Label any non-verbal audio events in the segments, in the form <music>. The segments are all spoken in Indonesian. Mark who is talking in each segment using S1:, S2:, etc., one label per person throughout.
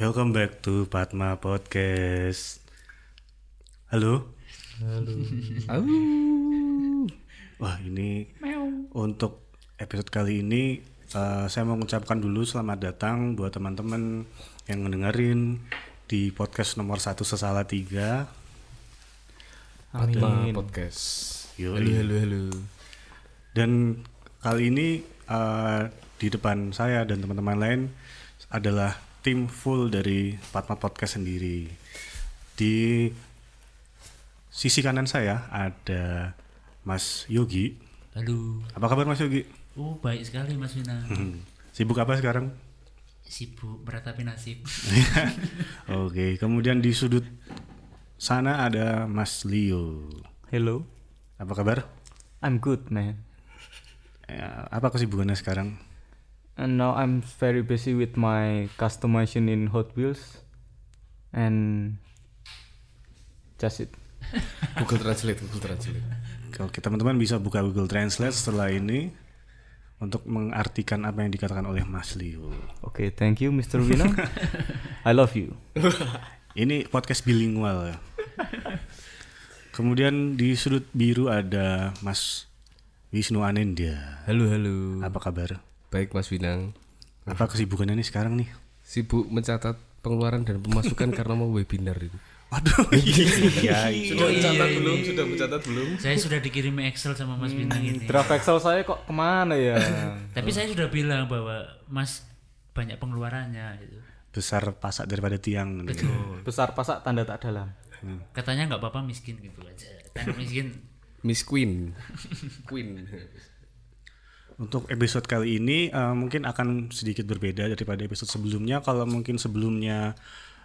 S1: Welcome back to Padma Podcast. Halo.
S2: Au.
S1: Wah, ini untuk episode kali ini eh, saya mau mengucapkan dulu selamat datang buat teman-teman yang mendengarin di podcast nomor satu sesala tiga.
S2: Fatma Podcast.
S1: Yoi.
S2: Halo halo halo.
S1: Dan kali ini eh, di depan saya dan teman-teman lain adalah tim full dari Patma Podcast sendiri. Di sisi kanan saya ada Mas Yogi.
S3: Halo.
S1: Apa kabar Mas Yogi? <clears throat>
S3: Oh, baik sekali Mas Wina.
S1: Hmm. Sibuk apa
S2: <laughs>
S1: sekarang?
S3: Sibuk meratapi nasib.
S1: Oke, kemudian di sudut sana ada Mas Leo.
S4: Hello,
S1: Apa kabar?
S4: I'm good man.
S1: Eh, Apa kesibukannya sekarang?
S4: And now I'm very busy with my customization in Hot Wheels, and just it.
S2: Google Translate, Google Translate.
S1: Oke, teman-teman bisa buka Google Translate setelah ini untuk mengartikan apa yang dikatakan oleh Mas Leo.
S4: Okay, thank you, Mr. Wino. I love you.
S1: Ini podcast bilingual ya. Kemudian di sudut biru ada Mas Wisnu Anindya.
S2: Halo halo.
S1: Apa kabar?
S2: Baik Mas Winang.
S1: Apa kesibukannya nih sekarang nih?
S2: Sibuk mencatat pengeluaran dan
S3: <laughs>
S2: pemasukan karena mau webinar ini.
S1: Waduh, iya,
S3: Oh, iya, ini.
S2: Sudah mencatat belum?
S3: Saya sudah dikirim Excel sama Mas Bintang ini.
S4: Draft Excel saya kok kemana ya?
S3: Tapi saya sudah bilang bahwa Mas banyak pengeluarannya gitu.
S1: besar pasak daripada tiang. nih.
S4: Besar pasak tanda tak dalam.
S3: Katanya nggak apa-apa miskin gitu aja. Kan miskin.
S2: Miss Queen. Queen.
S1: Untuk episode kali ini eh, mungkin akan sedikit berbeda daripada episode sebelumnya. Kalau mungkin sebelumnya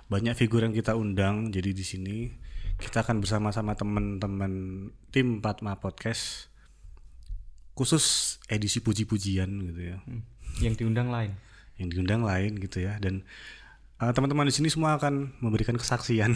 S1: banyak figur yang kita undang, jadi di sini kita akan bersama-sama teman-teman tim Patma Podcast khusus edisi puji-pujian gitu ya.
S4: Yang diundang lain.
S1: Yang diundang lain gitu ya dan eh, teman-teman di sini semua akan memberikan kesaksian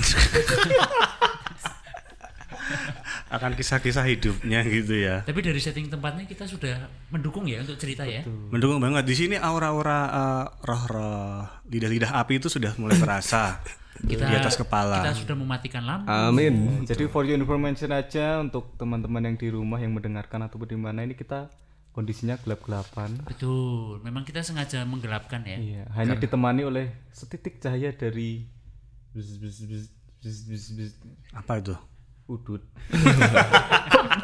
S1: akan kisah-kisah hidupnya gitu ya.
S3: Tapi dari setting tempatnya kita sudah mendukung ya untuk cerita ya.
S1: Mendukung banget di sini aura-aura eh, roh-roh lidah-lidah api itu sudah mulai terasa
S3: <laughs> Kita
S1: di atas kepala.
S3: Kita sudah mematikan
S2: Ah.
S3: lampu.
S2: Amin.
S4: Jadi for your information aja untuk teman-teman yang di rumah yang mendengarkan atau di mana ini kita kondisinya gelap-gelapan.
S3: Betul. Memang kita sengaja menggelapkan ya.
S4: Iya, hanya ditemani oleh setitik cahaya dari bzz, bzz, bzz, bzz, bzz, bzz,
S1: Apa itu?
S4: udut.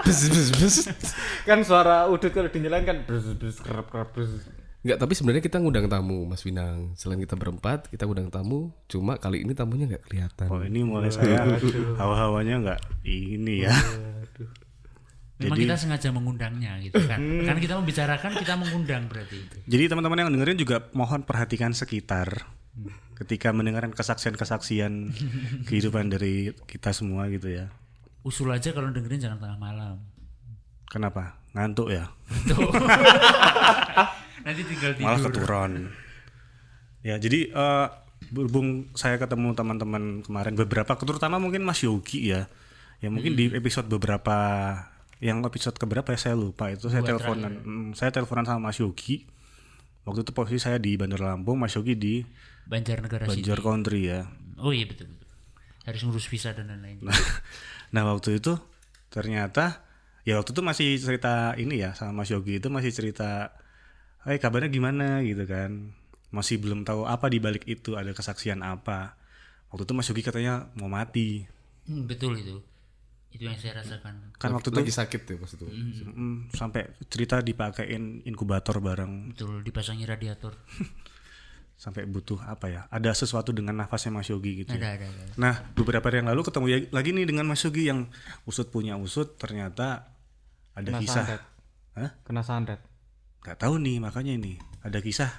S2: Bes bes bes.
S4: Kan suara udut kalau dinyalain kan bzz, bzz, kerep, kerep, bzz.
S2: Enggak, tapi sebenarnya kita ngundang tamu, Mas Winang. Selain kita berempat, kita ngundang tamu. Cuma kali ini tamunya nggak kelihatan.
S1: Oh, ini mulai saya hawa-hawanya nggak ini
S3: Iya.
S1: ya.
S3: Memang kita sengaja mengundangnya gitu kan. Karena kita membicarakan kita mengundang berarti itu.
S1: <laughs> Jadi teman-teman yang dengerin juga mohon perhatikan sekitar ketika mendengarkan
S3: <laughs>
S1: kesaksian-kesaksian kehidupan dari kita semua gitu ya.
S3: Usul aja kalau dengerin jangan tengah malam.
S1: Kenapa? Ngantuk ya?
S3: Tuh. Nanti tinggal tidur.
S1: malah keturun. Ya, jadi eh, berhubung saya ketemu teman-teman kemarin beberapa terutama mungkin Mas Yogi ya. Ya mungkin di episode beberapa yang episode keberapa ya saya lupa itu saya teleponan mm, saya teleponan sama Mas Yogi. Waktu itu posisi saya di Bandar Lampung, Mas Yogi di
S3: Banjarnegara City.
S1: Banjar Country ya.
S3: Oh iya betul betul. Harus ngurus visa dan lain-lain.
S1: nah <laughs> waktu itu ternyata ya waktu itu masih cerita ini ya sama Mas Yogi itu masih cerita eh kabarnya gimana gitu kan masih belum tahu apa di balik itu ada kesaksian apa waktu itu Mas Yogi katanya mau mati
S3: Hmm, betul itu. Itu yang saya rasakan.
S1: kan waktu itu
S2: lagi sakit ya pas itu.
S1: mm, sampai cerita dipakein inkubator bareng
S3: Betul dipasangi radiator.
S1: sampai butuh apa ya ada sesuatu dengan nafasnya Mas Yogi gitu ya.
S3: Ada ada ada.
S1: Nah, beberapa hari yang lalu ketemu ya- lagi nih dengan Mas Yogi yang usut punya usut ternyata ada
S4: Kena
S1: kisah.
S4: santet.
S1: Hah?
S4: Kena sandet.
S1: Gak tahu nih makanya ini ada kisah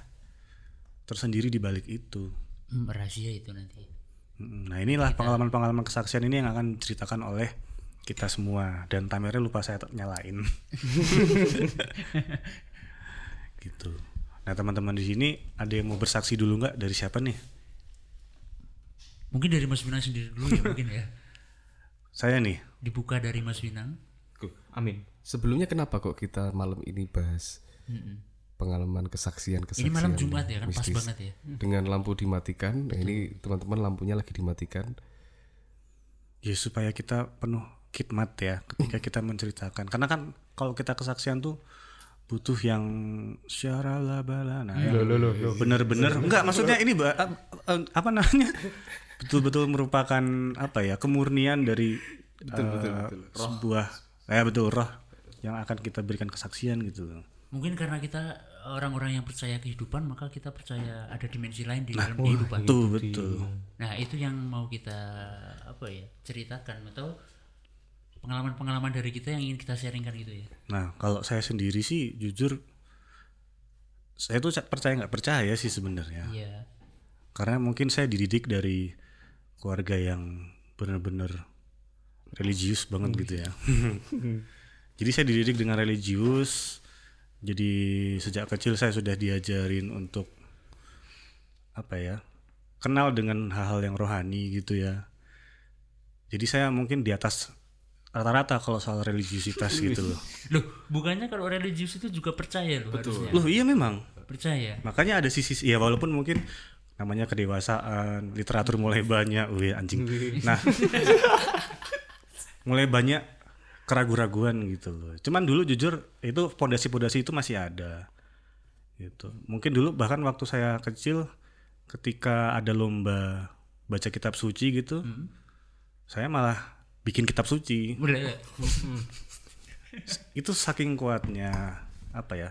S1: tersendiri di balik itu.
S3: Hmm, rahasia itu nanti.
S1: Mm, Nah inilah pengalaman-pengalaman kesaksian ini yang akan diceritakan oleh kita semua dan tamernya lupa saya t- nyalain. gitu. Nah teman-teman di sini ada yang mau bersaksi dulu nggak dari siapa nih?
S3: Mungkin dari Mas Winang sendiri dulu ya mungkin ya.
S1: Saya nih.
S3: Dibuka dari Mas Winang.
S4: Amin.
S2: Sebelumnya kenapa kok kita malam ini bahas
S3: Mm-mm.
S2: pengalaman kesaksian kesaksian
S3: Ini malam Jumat ya kan pas
S2: mistis?
S3: banget ya.
S2: dengan lampu dimatikan. Nah, ini teman-teman lampunya lagi dimatikan.
S1: ya supaya kita penuh khidmat ya ketika kita menceritakan karena kan kalau kita kesaksian tuh butuh yang syarala bala nah yang bener-bener enggak maksudnya ini ba- ap- eh, apa namanya betul-betul merupakan apa ya kemurnian dari eh, sebuah eh betul roh yang akan kita berikan kesaksian gitu
S3: Mungkin karena kita orang-orang yang percaya kehidupan, maka kita percaya ada dimensi lain di dalam
S1: Nah,
S3: kehidupan.
S1: betul betul
S3: Nah, itu yang mau kita apa ya? ceritakan atau pengalaman-pengalaman dari kita yang ingin kita sharingkan gitu ya.
S1: Nah, kalau saya sendiri sih jujur saya tuh ca- percaya nggak percaya sih sebenarnya.
S3: Iya.
S1: Karena mungkin saya dididik dari keluarga yang benar-benar religius banget gitu <laughs> ya. jadi saya dididik dengan religius. Jadi sejak kecil saya sudah diajarin untuk apa ya? Kenal dengan hal-hal yang rohani gitu ya. Jadi saya mungkin di atas rata-rata kalau soal religiusitas gitu loh.
S3: Loh, bukannya kalau religius itu juga percaya loh harusnya.
S1: Loh iya memang.
S3: Percaya.
S1: Makanya ada sisi ya walaupun mungkin namanya kedewasaan, literatur mulai banyak, wih anjing. Nah, mulai banyak keraguan-raguan gitu loh. Cuman dulu jujur itu pondasi-pondasi itu masih ada. Gitu. Mungkin dulu bahkan waktu saya kecil ketika ada lomba baca kitab suci gitu, saya malah bikin kitab suci
S3: Boleh.
S1: itu saking kuatnya apa ya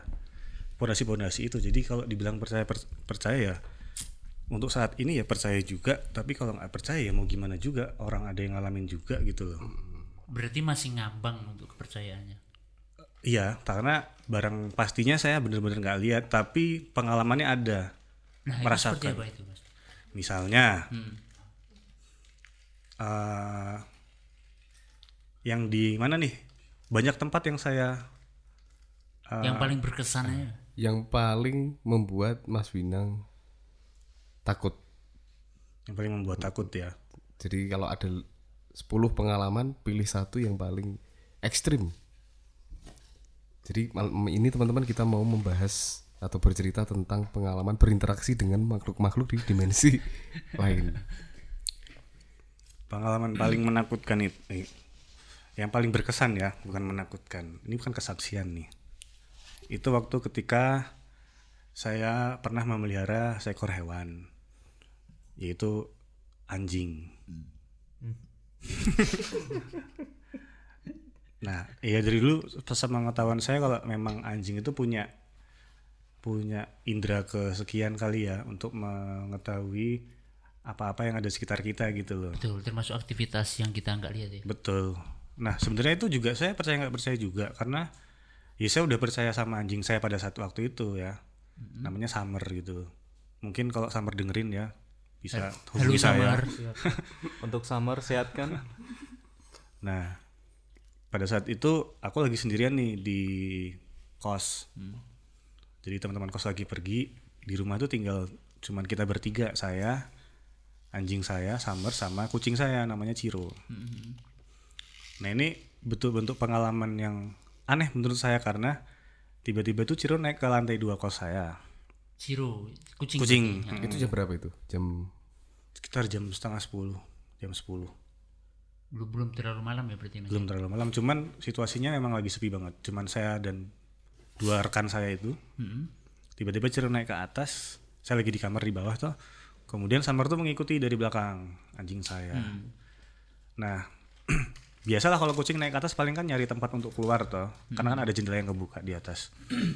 S1: pondasi-pondasi itu jadi kalau dibilang percaya per- percaya ya untuk saat ini ya percaya juga tapi kalau nggak percaya ya mau gimana juga orang ada yang ngalamin juga gitu loh
S3: Berarti masih ngambang untuk kepercayaannya.
S1: iya karena barang pastinya saya bener-bener nggak lihat tapi pengalamannya ada
S3: Nah, itu seperti
S1: merasakan
S3: apa itu, Mas?
S1: misalnya eh, yang di mana nih banyak tempat yang saya Ah.
S3: yang paling ya? berkesannya.
S2: Yang paling membuat Mas Winang takut.
S1: yang paling membuat takut ya
S2: Jadi kalau ada 10 pengalaman, pilih satu yang paling ekstrim. Jadi malam ini teman-teman kita mau membahas atau bercerita tentang pengalaman berinteraksi dengan makhluk-makhluk di dimensi lain.
S1: pengalaman paling menakutkan itu eh, yang paling berkesan ya bukan menakutkan ini bukan kesaksian nih itu waktu ketika saya pernah memelihara seekor hewan yaitu anjing nah iya dari dulu sama pengetahuan saya kalau memang anjing itu punya punya indera kesekian kali ya untuk mengetahui apa-apa yang ada di sekitar kita gitu loh
S3: Betul, termasuk aktivitas yang kita nggak lihat ya.
S1: Betul. Nah sebenarnya itu juga saya percaya nggak percaya juga karena ya saya udah percaya sama anjing saya pada satu waktu itu ya. Namanya Summer gitu. Mungkin kalau Summer dengerin ya bisa
S3: Halo
S1: hubungi saya.
S3: Samar.
S4: Untuk summer sehat kan?
S1: Nah pada saat itu aku lagi sendirian nih di kos. Jadi teman-teman kos lagi pergi di rumah tuh tinggal cuman kita bertiga saya anjing saya Summer sama kucing saya namanya Ciro. Nah ini betul bentuk pengalaman yang aneh menurut saya karena tiba-tiba tuh Ciro naik ke lantai dua kos saya
S3: Ciro, kucing.
S1: Kucing.
S3: Ya.
S2: Itu jam berapa itu? Jam
S1: sekitar jam setengah sepuluh jam sepuluh
S3: Belum belum terlalu malam ya berarti Mas.
S1: belum terlalu malam cuman situasinya memang lagi sepi banget cuman saya dan dua rekan saya itu
S3: Mm-mm.
S1: tiba-tiba Ciro naik ke atas saya lagi di kamar di bawah tuh kemudian Samar tuh mengikuti dari belakang anjing saya nah <clears throat> biasalah kalau kucing naik ke atas paling kan nyari tempat untuk keluar toh karena kan ada jendela yang kebuka di atas <clears throat>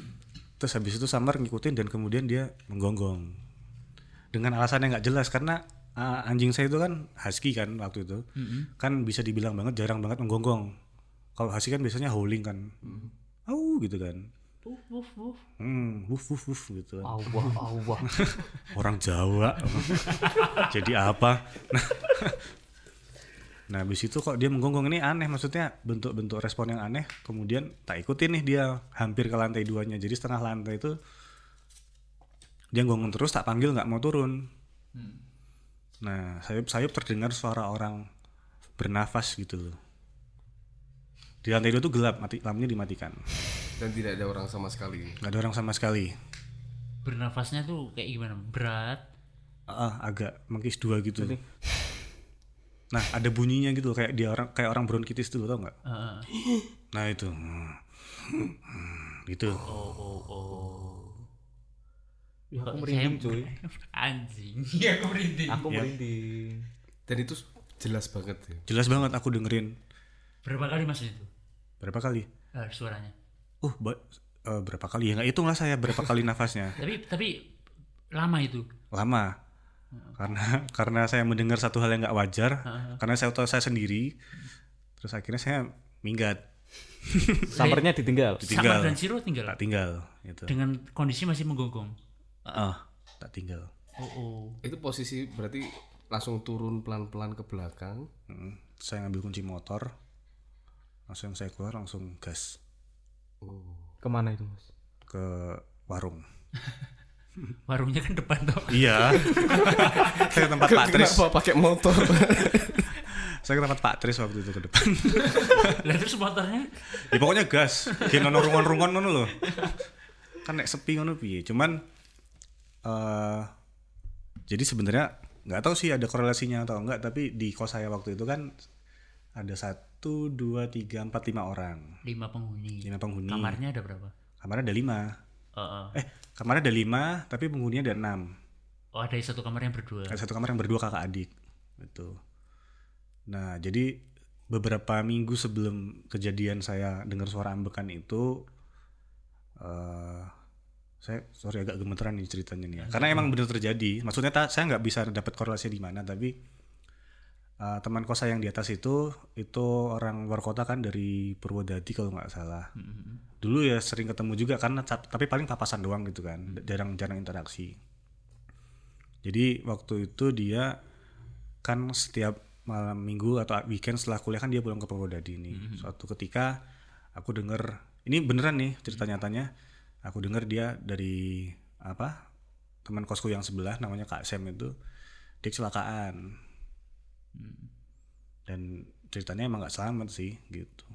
S1: terus habis itu Samar ngikutin dan kemudian dia menggonggong dengan alasan yang nggak jelas karena ah, anjing saya itu kan husky kan waktu itu kan bisa dibilang banget jarang banget menggonggong kalau husky kan biasanya howling kan au gitu kan
S3: Wuf, wuf, wuf.
S1: hmm wuf wuf wuf gitu kan
S4: Awah, awah.
S1: <laughs> orang Jawa jadi apa nah <laughs> nah habis itu kok dia menggonggong ini aneh maksudnya bentuk-bentuk respon yang aneh kemudian tak ikutin nih dia hampir ke lantai duanya jadi setengah lantai itu dia gonggong terus tak panggil nggak mau turun nah sayup-sayup terdengar suara orang bernafas gitu loh di lantai dua tuh gelap mati lampunya dimatikan
S2: dan tidak ada orang sama sekali.
S1: nggak ada orang sama sekali
S3: Bernafasnya tuh kayak gimana? Berat.
S1: Ah, agak mengkis dua gitu. Nah, ada bunyinya gitu kayak dia orang kayak orang bronkitis dulu tau nggak?
S3: Heeh.
S1: Nah itu, Hmm. gitu.
S3: oh oh oh
S4: Ya,
S3: Kok saya
S4: aku merinding Iya. cuy.
S3: <laughs> anjing <laughs> ya aku merinding
S4: Aku merinding.
S2: Dan itu s- jelas banget ya.
S1: Jelas banget aku dengerin
S3: berapa kali mas itu
S1: berapa kali?
S3: eh, suaranya
S1: Uh, ba- eh, berapa kali ya nggak hitung lah saya berapa kali nafasnya.
S3: tapi tapi lama itu
S1: Lama. Karena karena saya mendengar satu hal yang nggak wajar, karena saya tahu saya sendiri. Terus akhirnya saya minggat,
S4: Summernya ditinggal.
S1: Ditinggal.
S3: sama dan Siro tinggal
S1: tak tinggal gitu.
S3: dengan kondisi masih menggonggong
S1: Ah, tak tinggal.
S3: oh oh
S2: Itu posisi berarti langsung turun pelan-pelan ke belakang.
S1: Mm. Saya ngambil kunci motor, langsung saya keluar langsung gas
S4: Kemana itu mas?
S1: ke warung.
S3: warungnya kan depan
S4: <laughs>
S3: toh
S1: Iya. <laughs> saya ke tempat Pak Tris.
S2: Kenapa pakai motor? <laughs>
S1: Saya ke tempat Pak Tris waktu itu ke depan.
S3: lah terus motornya
S1: ya pokoknya gas. Kayak ngono rungon-rungon ngono loh. Kan nek sepi ngono piye. Cuman eh jadi sebenarnya nggak tahu sih ada korelasinya atau enggak tapi di kos saya waktu itu kan ada satu dua tiga empat lima orang
S3: lima penghuni
S1: lima penghuni
S3: kamarnya ada berapa
S1: kamarnya ada lima
S3: oh, oh.
S1: eh kamarnya ada lima tapi penghuninya ada enam
S3: oh ada satu kamar yang berdua
S1: Ada satu kamar yang berdua kakak adik gitu. Nah jadi beberapa minggu sebelum kejadian saya dengar suara ambekan itu, eh saya sorry agak gemeteran nih ceritanya nih ya. Karena emang benar terjadi. Maksudnya ta- saya nggak bisa dapat korelasi di mana, tapi eh, teman kos saya yang di atas itu itu orang luar kota kan dari Purwodadi kalau nggak salah.
S3: Hmm,
S1: Dulu ya sering ketemu juga karena tapi paling papasan doang gitu kan, jarang-jarang interaksi. Jadi waktu itu dia kan setiap malam minggu atau weekend setelah kuliah kan dia pulang ke Purwodadi ini. Suatu ketika aku dengar ini beneran nih cerita nyatanya. Aku dengar dia dari apa teman kosku yang sebelah namanya Kak Sam itu dia kecelakaan
S3: Hmm.
S1: dan ceritanya emang nggak selamat sih gitu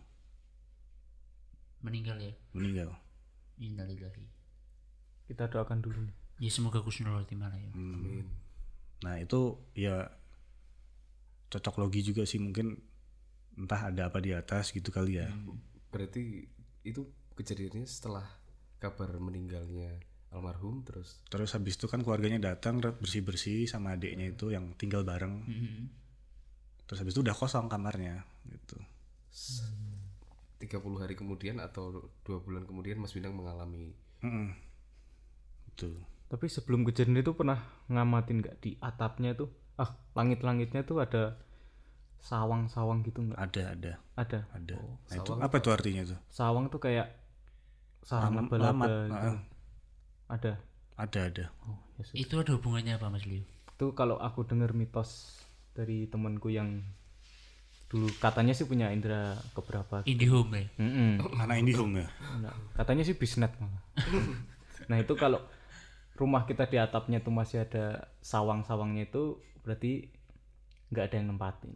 S3: meninggal ya
S1: meninggal.
S3: innalillahi
S4: Kita doakan dulu. nih.
S3: ya semoga kusnul khotimah lah ya
S1: Nah itu ya cocok logi juga sih mungkin entah ada apa di atas gitu kali
S3: Hmm.
S1: ya.
S4: Hmm.
S2: berarti itu kejadiannya setelah kabar meninggalnya almarhum terus
S1: Terus habis itu kan keluarganya datang bersih-bersih sama adiknya itu yang tinggal bareng.
S3: Mhm.
S1: Terus habis itu udah kosong kamarnya gitu.
S2: 30 hari kemudian atau dua bulan kemudian Mas Bintang mengalami
S1: Mm-mm. Itu.
S4: Tapi sebelum kejadian itu pernah ngamatin nggak di atapnya tuh? Ah, langit-langitnya tuh ada sawang-sawang gitu nggak?
S1: Ada, ada,
S4: Ada.
S1: ada. nah, itu apa itu artinya tuh?
S4: Sawang tuh kayak sarang
S1: Lam-
S4: laba-laba
S1: lamat,
S4: gitu.
S1: heeh.
S4: Ada.
S1: Ada, ada.
S4: Oh, ya sudah.
S3: itu ada hubungannya apa mas Liu
S4: Itu kalau aku dengar mitos dari temanku yang dulu katanya sih punya indera keberapa.
S3: Indihome ya
S4: Mm-mm.
S1: Anak Indihome ya?
S4: Enggak. Katanya sih bisnet
S3: <laughs>
S4: malah. nah itu kalau rumah kita di atapnya tuh masih ada sawang-sawangnya itu berarti nggak ada yang nempatin.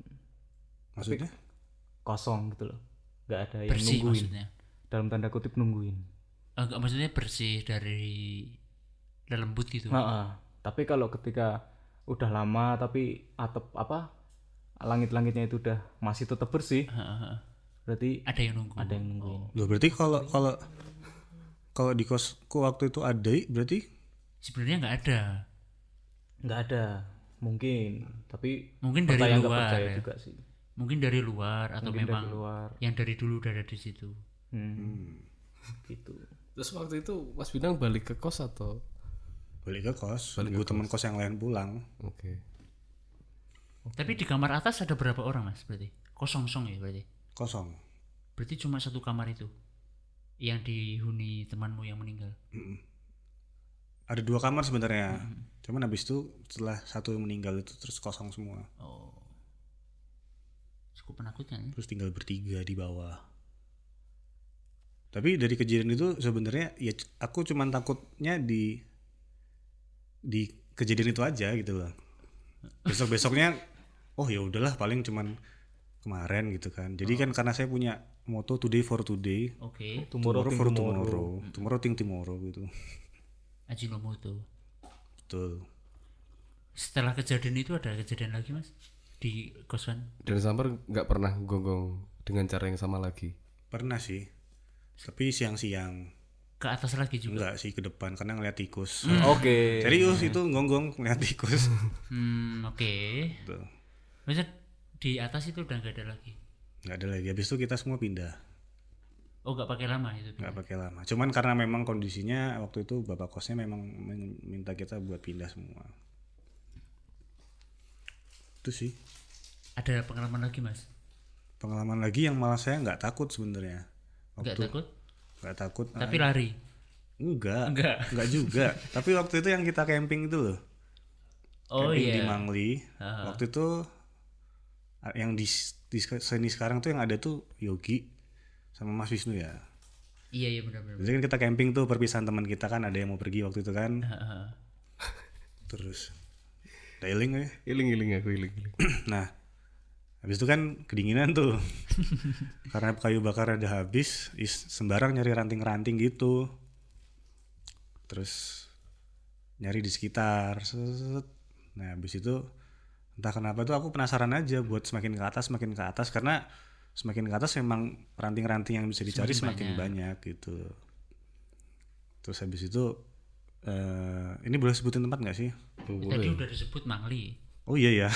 S1: Maksudnya?
S4: Kosong gitu loh. Nggak ada yang
S3: bersih
S4: nungguin.
S3: maksudnya Oh,
S4: Dalam tanda kutip nungguin.
S3: enggak maksudnya bersih dari lelembut gitu
S4: Nah, ah. tapi kalau ketika udah lama tapi atap apa langit-langitnya itu udah masih tetap bersih
S3: Heeh, heeh.
S4: berarti
S3: ada yang nunggu
S4: ada yang nungguin.
S1: Loh berarti kalau kalau kalau di kosku waktu itu ada berarti
S3: sebenarnya nggak ada
S4: Nggak ada mungkin tapi
S3: mungkin dari
S4: percaya nggak
S3: luar
S4: percaya
S3: ya.
S4: juga sih
S3: mungkin dari luar atau
S4: mungkin
S3: memang
S4: dari luar
S3: yang dari dulu udah ada di situ
S4: Hmm. gitu
S2: terus waktu itu Mas Bintang balik ke kos atau
S1: balik ke kos, nunggu teman kos yang lain pulang.
S2: oke
S3: tapi di kamar atas ada berapa orang mas berarti kosong song ya berarti
S1: Kosong.
S3: berarti cuma satu kamar itu yang dihuni temanmu yang meninggal
S1: Ada dua kamar sebenarnya. Cuman habis itu setelah satu meninggal itu terus kosong semua.
S3: oh cukup menakutkan ya.
S1: terus tinggal bertiga di bawah. Tapi dari kejadian itu sebenarnya ya c- aku cuman takutnya di di kejadian itu aja gitu loh. Besok besoknya <laughs> oh ya udahlah paling cuman kemarin gitu kan. Jadi kan karena saya punya moto today for today,
S3: oke
S4: tomorrow,
S1: for
S4: tomorrow.
S1: tomorrow, Mm-hmm. tomorrow think tomorrow gitu.
S3: Ajinomoto
S1: Betul.
S3: setelah kejadian itu ada kejadian lagi mas di kosan
S2: Dan Samper nggak pernah gonggong dengan cara yang sama lagi.
S1: Pernah sih. Tapi siang-siang.
S3: ke atas lagi juga
S1: Enggak sih ke depan karena ngeliat tikus.
S4: Oke.
S1: Serius
S3: Iya.
S1: itu ngonggong ngeliat
S3: <laughs>
S1: tikus. Gitu.
S3: hmm oke
S1: Tuh.
S3: maksudnya di atas itu udah nggak ada lagi
S1: Nggak ada lagi. Habis itu kita semua pindah.
S3: oh nggak pakai lama itu
S1: Nggak pakai lama. Cuman karena memang kondisinya waktu itu bapak kosnya memang men- minta kita buat pindah semua. Itu sih.
S3: ada pengalaman lagi mas
S1: Pengalaman lagi yang malah saya nggak takut sebenarnya.
S3: nggak
S1: Waktu
S3: takut
S1: nggak takut. eh,
S3: tapi lari
S1: enggak.
S3: <laughs> Enggak.
S1: Enggak juga. Tapi waktu itu yang kita camping itu loh.
S3: oh
S1: camping di
S3: iya
S1: Mangli. Waktu itu a- yang di, di seni sekarang tuh yang ada tuh Yogi sama Mas Wisnu ya.
S3: iya iya benar-benar
S1: Jadi kan kita camping tuh perpisahan teman kita kan ada yang mau pergi waktu itu kan.
S3: Heeh.
S1: Terus dialing ya.
S2: Iling-iling aku iling-iling.
S1: Nah, habis itu kan kedinginan tuh. <laughs> Karena kayu bakar ada habis, is- sembarang nyari ranting-ranting gitu. Terus nyari di sekitar. set. Nah, habis itu entah kenapa tuh aku penasaran aja buat semakin ke atas, semakin ke atas karena semakin ke atas memang ranting-ranting yang bisa dicari semakin, banyak. gitu. Terus habis itu eh ini boleh sebutin tempat nggak sih?
S3: tadi udah disebut Mangli
S1: Oh iya ya.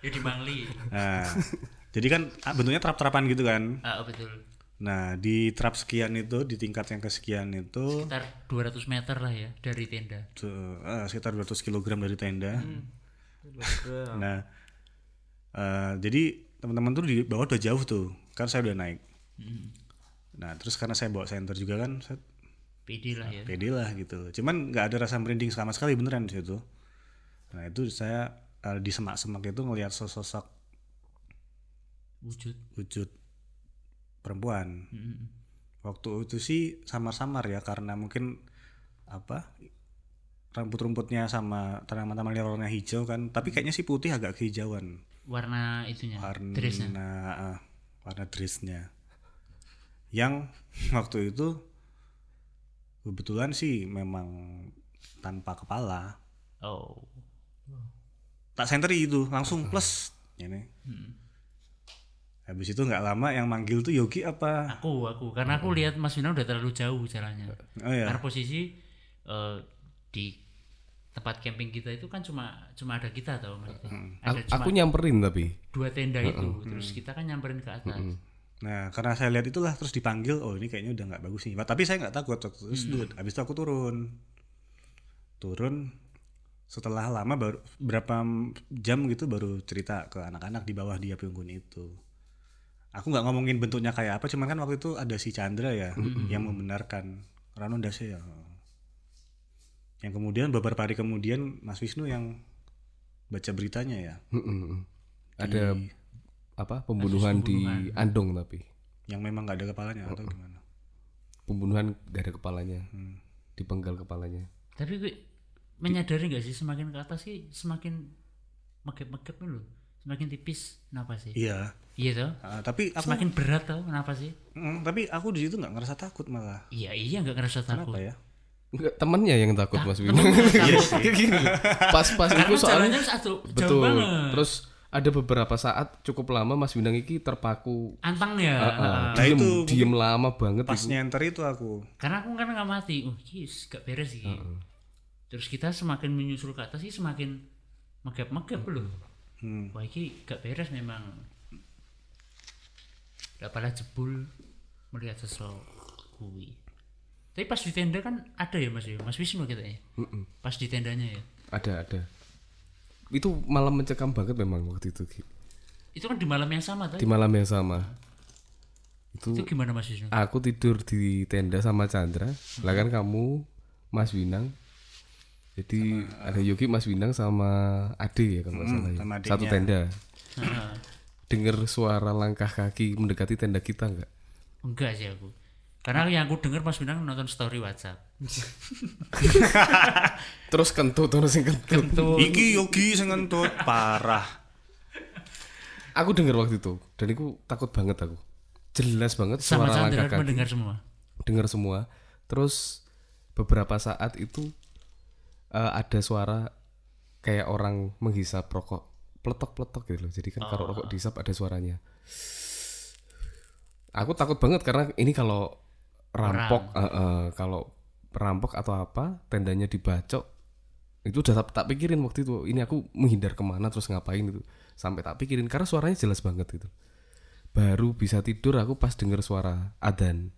S3: ya di Mangli
S1: Nah, jadi kan ah, bentuknya terap-terapan gitu kan.
S3: ah betul
S1: Nah, di terap sekian itu, di tingkat yang kesekian itu
S3: sekitar 200 meter lah ya dari tenda
S1: tuh, eh, sekitar 200 kg dari tenda. Nah, eh, jadi teman-teman tuh di bawah udah jauh tuh, kan saya udah naik. Nah, terus karena saya bawa senter juga kan, saya
S3: PD lah ya
S1: pede lah gitu. Cuman nggak ada rasa merinding sama sekali beneran di situ. Nah, itu saya eh, di semak-semak itu ngelihat sosok
S3: wujud
S1: wujud perempuan.
S3: Mm-mm.
S1: waktu itu sih samar-samar ya karena mungkin apa rumput-rumputnya sama tanaman-tanaman yang warna hijau kan tapi kayaknya sih putih agak kehijauan
S3: warna itunya
S1: warna
S3: dressnya
S1: ah, warna dressnya yang <laughs> waktu itu kebetulan sih memang tanpa kepala
S3: oh
S1: tak sentri itu langsung plus ini
S3: Mm.
S1: habis itu nggak lama yang manggil tuh Yogi apa
S3: aku aku karena aku lihat Mas Wina udah terlalu jauh jalannya
S1: oh ya
S3: karena posisi eh, di tempat camping kita itu kan cuma cuma ada kita tau mas ada cuma
S2: Aku nyamperin tapi.
S3: dua tenda itu terus kita kan nyamperin ke atas
S1: Nah, karena saya lihat itulah terus dipanggil, oh ini kayaknya udah nggak bagus nih. Tapi saya nggak takut. Terus du- habis itu aku turun. Turun setelah lama baru berapa jam gitu baru cerita ke anak-anak di bawah dia punggung itu. Aku nggak ngomongin bentuknya kayak apa, cuman kan waktu itu ada si Chandra ya yang membenarkan Rano Dasya. Yang kemudian beberapa hari kemudian Mas Wisnu yang baca beritanya ya.
S2: Mm-mm. Ada
S1: Iya.
S2: apa pembunuhan di Andong tapi
S1: Yang memang nggak ada kepalanya atau gimana.
S2: pembunuhan gak ada kepalanya,
S1: Hmm.
S2: dipenggal kepalanya.
S3: tapi gue menyadari nggak sih semakin ke atas sih semakin megep-megep nih loh semakin tipis kenapa sih
S1: Iya.
S3: iya toh
S1: Ah, tapi aku
S3: semakin berat tau kenapa sih
S1: Mm, tapi aku di situ nggak ngerasa takut malah.
S3: iya iya nggak ngerasa
S1: Apa
S3: takut
S1: ya? Iya
S2: Enggak, temennya yang takut Mas Bimo. <laughs>
S3: Iya
S2: Pas-pas itu Iya. soalnya
S3: karena Ah, jalannya satu jauh
S2: betul.
S3: banget
S2: Terus ada beberapa saat cukup lama Mas Bintang iki terpaku
S3: antang ya
S2: Ah,
S1: Nah,
S2: diem,
S1: itu
S2: diem lama banget
S1: Pas
S2: itu.
S1: nyenter itu aku.
S3: karena aku kan nggak mati oh yes gak beres sih terus kita semakin menyusul ke atas sih semakin megap megap loh
S1: Hmm.
S3: wah ini gak beres memang apalah jebul melihat sosok kui tapi pas di tenda kan ada ya mas ya mas Wisnu kita ya pas di tendanya ya
S2: Ada ada. Itu malam mencekam banget memang waktu itu Ki.
S3: itu kan di malam yang sama
S2: di
S3: tadi
S2: malam yang sama. Itu
S3: itu gimana mas Wisnu
S2: aku tidur di tenda sama Chandra lah kan kamu Mas Winang jadi ada Yogi Mas Winang sama Ade ya kalau nggak salah ya.
S1: Hmm, sama adiknya.
S2: satu tenda
S3: Nah,
S2: dengar suara langkah kaki mendekati tenda kita nggak
S3: enggak sih aku karena yang aku dengar mas Wisnu kan nonton story WhatsApp
S2: terus kentut terus yang kentut
S3: itu
S1: Iki Yogi sing ngentut parah.
S2: aku dengar waktu itu dan aku takut banget aku jelas banget
S3: sama
S2: suara langkah
S3: Chandra kan
S2: kaki
S3: mendengar semua
S2: dengar semua terus beberapa saat itu eh, ada suara kayak orang menghisap rokok peletok-peletok gitu loh jadi kan kalau rokok dihisap ada suaranya aku takut banget karena ini kalau rampok eh, eh, kalau rampok atau apa tendanya dibacok itu udah tak, tak pikirin waktu itu ini aku menghindar kemana terus ngapain itu sampai tak pikirin karena suaranya jelas banget gitu baru bisa tidur aku pas denger suara adan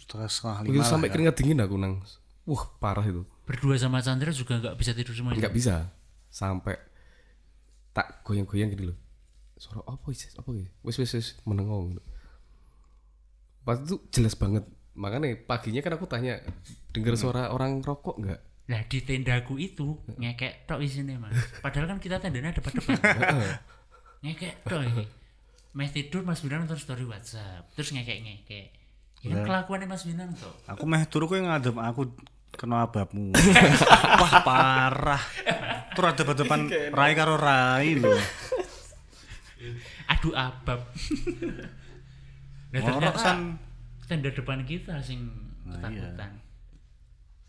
S1: setelah setengah
S2: itu
S1: lima lah
S2: sampai
S1: ya.
S2: keringat dingin aku nang wah parah itu
S3: Berdua sama Chandra juga nggak bisa tidur semua.
S2: nggak bisa sampai tak goyang-goyang gitu loh suara apa sih apa sih wes wes wes menengok gitu. pas itu jelas banget makanya paginya kan aku tanya
S1: Hmm.
S2: dengar suara orang rokok nggak
S3: Lah di tendaku itu ngekek tok isine, Mas. Padahal kan kita tendanya
S1: <laughs>
S3: depan-depan.
S1: Ah.
S2: Eh.
S3: ngekek tok iki. Mas tidur Mas Binan nonton story WhatsApp, terus ngekek-ngekek. Ya kan kelakuannya Mas Binan tuh.
S1: aku meh turu kok ngadem aku kena ababmu wah parah tur ada depan rai karo rai
S3: <laughs>
S1: lho
S3: Aduh
S1: <laughs>
S3: abab. nah
S1: ngorok
S3: ternyata
S1: san Nah, iya.
S3: tenda depan kita sing ketakutan.